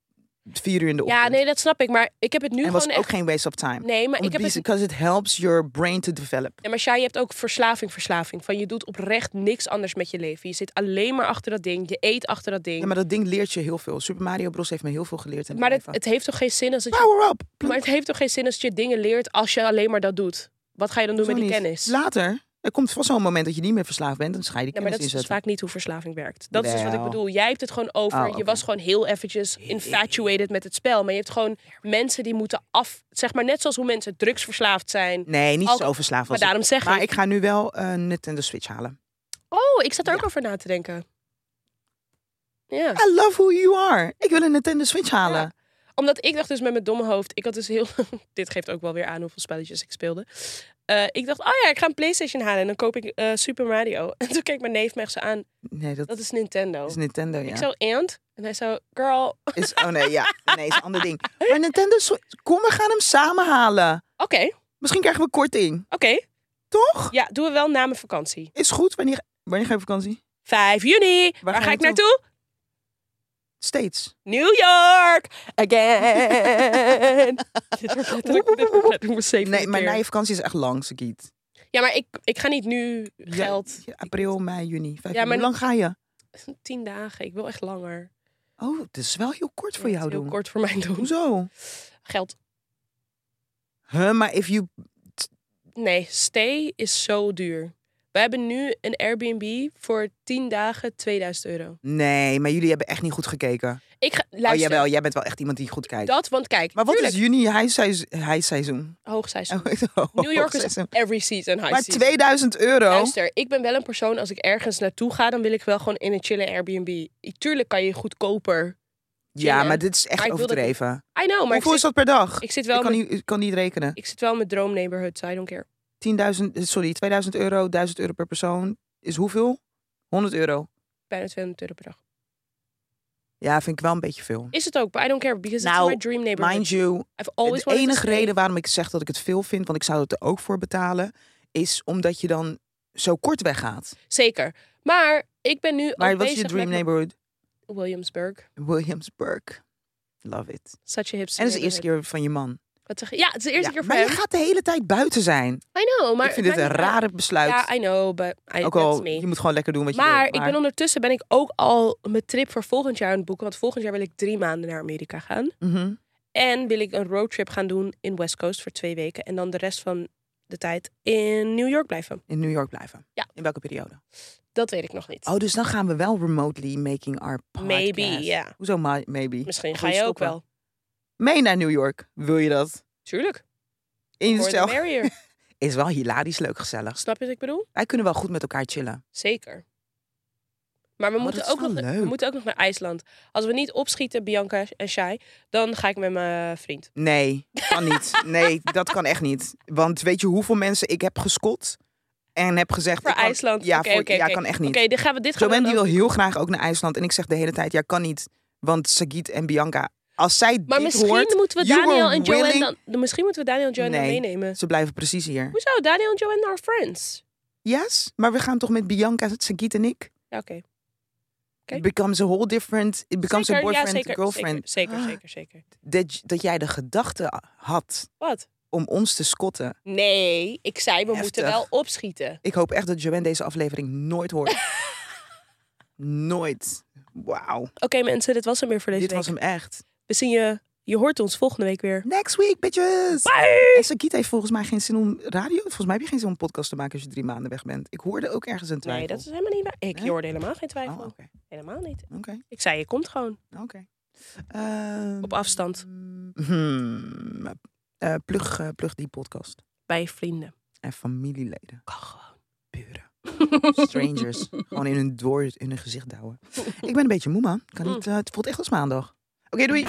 A: vier uur in de ochtend.
B: Ja, nee, dat snap ik. Maar ik heb het
A: en
B: nu gewoon
A: was ook
B: echt...
A: geen waste of time.
B: Nee, maar ik heb het...
A: Because it helps your brain to develop.
B: Nee, maar Shai, je hebt ook verslaving, verslaving. Van je doet oprecht niks anders met je leven. Je zit alleen maar achter dat ding. Je eet achter dat ding.
A: Ja, maar dat ding leert je heel veel. Super Mario Bros heeft me heel veel geleerd. In
B: maar
A: het
B: het,
A: leven.
B: het heeft toch geen zin als het je...
A: Power up!
B: Maar het heeft toch geen zin als je dingen leert als je alleen maar dat doet. Wat ga je dan doen
A: Zo
B: met die
A: niet.
B: kennis?
A: Later, er komt vast wel een moment dat je niet meer verslaafd bent. Dan ga je die
B: Ja, maar
A: kennis
B: dat is dus
A: inzetten.
B: vaak niet hoe verslaving werkt. Dat is dus wat ik
A: Wel.
B: bedoel. Jij hebt het gewoon over.
A: Oh,
B: Je
A: oké.
B: was gewoon heel eventjes infatuated met het spel. Maar je hebt gewoon mensen die moeten af... Zeg maar net zoals hoe mensen drugsverslaafd zijn.
A: Nee, niet
B: Alcohol.
A: zo verslaafd
B: Maar
A: als ik.
B: daarom zeg
A: Maar
B: ik...
A: ik ga nu wel een Nintendo Switch halen.
B: Oh, ik zat er ook over na te denken. Ja.
A: I love who you are. Ik wil een Nintendo Switch halen.
B: Ja. Omdat ik dacht dus met mijn domme hoofd... Ik had dus heel... dit geeft ook wel weer aan hoeveel spelletjes ik speelde. Eh, ik dacht, oh ja, ik ga een Playstation halen. En dan koop ik eh, Super Mario. En toen keek mijn neef me echt zo aan.
A: Nee, dat,
B: Dat is Nintendo.
A: is Nintendo, ja.
B: Ik zo, and? En hij zo, girl... Oké.
A: Is, oh nee, ja. Nee, is een ander ding. Maar Nintendo Switch, kom, we gaan hem samen halen.
B: Oké.
A: Misschien krijgen we korting. Toch?
B: Ja, doen we wel na mijn vakantie.
A: Is goed. Wanneer, wanneer ga je op vakantie?
B: 5 juni. Waar,
A: gaan
B: ga
A: we
B: ik naartoe?
A: Steeds.
B: New York. Again. dit wordt letterlijk, dit wordt letterlijk mijn zevende
A: Nee, mijn
B: keer.
A: najaarvakantie is echt lang, Sagiet.
B: Ja, maar ik, ik ga niet nu geld.
A: Ja, april, mei, juni. Vijf
B: Ja,
A: juni.
B: maar-
A: Hoe lang ga je?
B: 10 Tien dagen. Ik wil echt langer.
A: Oh, het is wel heel kort voor
B: Ja, het
A: jou
B: is heel
A: doen.
B: kort voor [LAUGHS] mij doen.
A: Hoezo?
B: Geld.
A: Huh, maar if you...
B: Nee, stay is zo duur. We hebben nu een Airbnb voor 10 dagen 2000 euro.
A: Nee, maar jullie hebben echt niet goed gekeken.
B: Ik ga,
A: Oh,
B: luister,
A: jawel, jij bent wel echt iemand die goed kijkt.
B: dat, want kijk,
A: Maar wat
B: tuurlijk,
A: is juni hijseiz- hijseizoen?
B: hoogseizoen.
A: Oh, [LAUGHS]
B: New York is
A: hoogseizoen.
B: every season high
A: Maar
B: season.
A: 2000 euro?
B: Luister, ik ben wel een persoon, als ik ergens naartoe ga, dan wil ik wel gewoon in een chille Airbnb. Tuurlijk kan je goedkoper.
A: ja,
B: chillen.
A: maar dit is echt
B: Maar ik wil dat niet.
A: overdreven.
B: I know, maar
A: Hoeveel
B: ik zit,
A: is dat per dag?
B: ik zit
A: Ik
B: wel
A: kan,
B: met,
A: niet, ik kan niet rekenen.
B: ik zit wel in mijn droom neighborhood, so I don't care.
A: 10.000, eh, sorry, 2000 euro, 1000 euro per persoon is hoeveel? 100 euro.
B: Bijna 200 euro per dag.
A: Ja, vind ik wel een beetje veel.
B: Is het ook, but I don't care, because
A: Nou,
B: it's my dream neighborhood.
A: Mind you,
B: I've always
A: de
B: wanted to
A: enige
B: stay.
A: reden waarom ik zeg dat ik het veel vind, want ik zou het er ook voor betalen, is omdat je dan zo kort weggaat.
B: Zeker. Maar ik ben nu
A: Maar
B: al
A: wat is je
B: bezig
A: dream
B: met
A: neighborhood?
B: Williamsburg.
A: Williamsburg. Love it.
B: Such a hipster.
A: En dat is de eerste
B: neighborhood.
A: keer van je man.
B: Wat zeg je? Ja, het is de eerste
A: Ja,
B: keer voor
A: maar je
B: hem.
A: gaat de hele tijd buiten zijn.
B: I know, maar...
A: ik vind
B: het
A: dit een
B: maakt niet uit.
A: rare besluit.
B: Ja, I know, but I,
A: Ook al,
B: that's me.
A: je moet gewoon lekker doen wat je
B: Maar,
A: wil.
B: ik ben ondertussen ben ik ook al mijn trip voor volgend jaar aan het boeken. Want volgend jaar wil ik drie maanden naar Amerika gaan.
A: Mhm.
B: En wil ik een roadtrip gaan doen in West Coast voor twee weken. En dan de rest van de tijd in New York blijven.
A: in New York blijven.
B: Ja.
A: In welke periode?
B: Dat weet ik nog niet.
A: Oh, dus dan gaan we wel remotely making our podcast.
B: Maybe, ja.
A: Hoezo ma- maybe?
B: Misschien
A: Of
B: ga
A: wil
B: je ook
A: stoppen?
B: wel.
A: Mee naar New York. Wil je dat?
B: Tuurlijk.
A: In
B: Voor de
A: jezelf.
B: merrier.
A: [LAUGHS] Is wel hilarisch leuk gezellig.
B: Snap je wat ik bedoel?
A: Wij kunnen wel goed met elkaar chillen.
B: Zeker. Maar we,
A: Oh,
B: moeten
A: dat is
B: ook
A: wel
B: nog, we
A: leuk.
B: moeten ook nog naar IJsland. Als we niet opschieten, Bianca en Shai, dan ga ik met mijn vriend.
A: Nee, kan
B: [LAUGHS]
A: niet. Nee, dat kan echt niet. Want weet je hoeveel mensen ik heb geskot? En heb gezegd...
B: Voor
A: ik kan-
B: IJsland?
A: Ja,
B: Oké,
A: voor,
B: oké,
A: ja kan echt niet.
B: Oké, dit gaan we dit
A: Zo
B: gaan we
A: ben die
B: dan
A: wil
B: ook-
A: heel graag ook naar IJsland. En ik zeg de hele tijd, ja, kan niet. Want Sagit en Bianca, als zij
B: Maar
A: dit
B: misschien
A: hoort,
B: moeten we
A: you
B: Daniel
A: were
B: en Joanne
A: willing-
B: dan, dan- misschien moeten we Daniel en Joanne dan
A: Nee.
B: meenemen.
A: Ze blijven precies hier.
B: Hoezo? Daniel en Joanne are friends.
A: Yes, maar we gaan toch met Bianca, Sagit en ik?
B: Ja, oké. Oké.
A: It becomes a whole different... It becomes
B: Zeker,
A: a boyfriend,
B: ja, zeker,
A: girlfriend.
B: Zeker,
A: Ah,
B: zeker, zeker, zeker.
A: Dat, j- dat jij de gedachte had
B: Wat?
A: om ons te scotten.
B: Nee, ik zei we moeten
A: Heftig.
B: wel opschieten.
A: Ik hoop echt dat Joanne deze aflevering nooit
B: [LAUGHS]
A: hoort. nooit. Wauw.
B: Oké mensen, dit was hem weer voor deze
A: Dit
B: week.
A: was hem echt.
B: We zien je, je hoort ons volgende week weer.
A: Next week, bitches!
B: Bye!
A: En Sagit heeft volgens mij geen zin om radio. Volgens mij heb je geen zin om een podcast te maken als je drie maanden weg bent. Ik hoorde ook ergens een twijfel.
B: Nee, dat is helemaal niet waar. Ik
A: Nee?
B: hoorde helemaal geen twijfel.
A: Oh, oké.
B: Helemaal niet.
A: Oké,
B: Ik zei, je komt gewoon
A: oké. Ehm,
B: op afstand
A: hmm, eh, plug, eh, plug die podcast.
B: bij vrienden.
A: En familieleden,
B: Kan gewoon.
A: buren,
B: [LAUGHS]
A: strangers. gewoon in hun, door, in hun gezicht douwen.
B: Mm.
A: Ik ben een beetje moe, man. Kan niet, eh, het voelt echt als maandag. Oké, doei!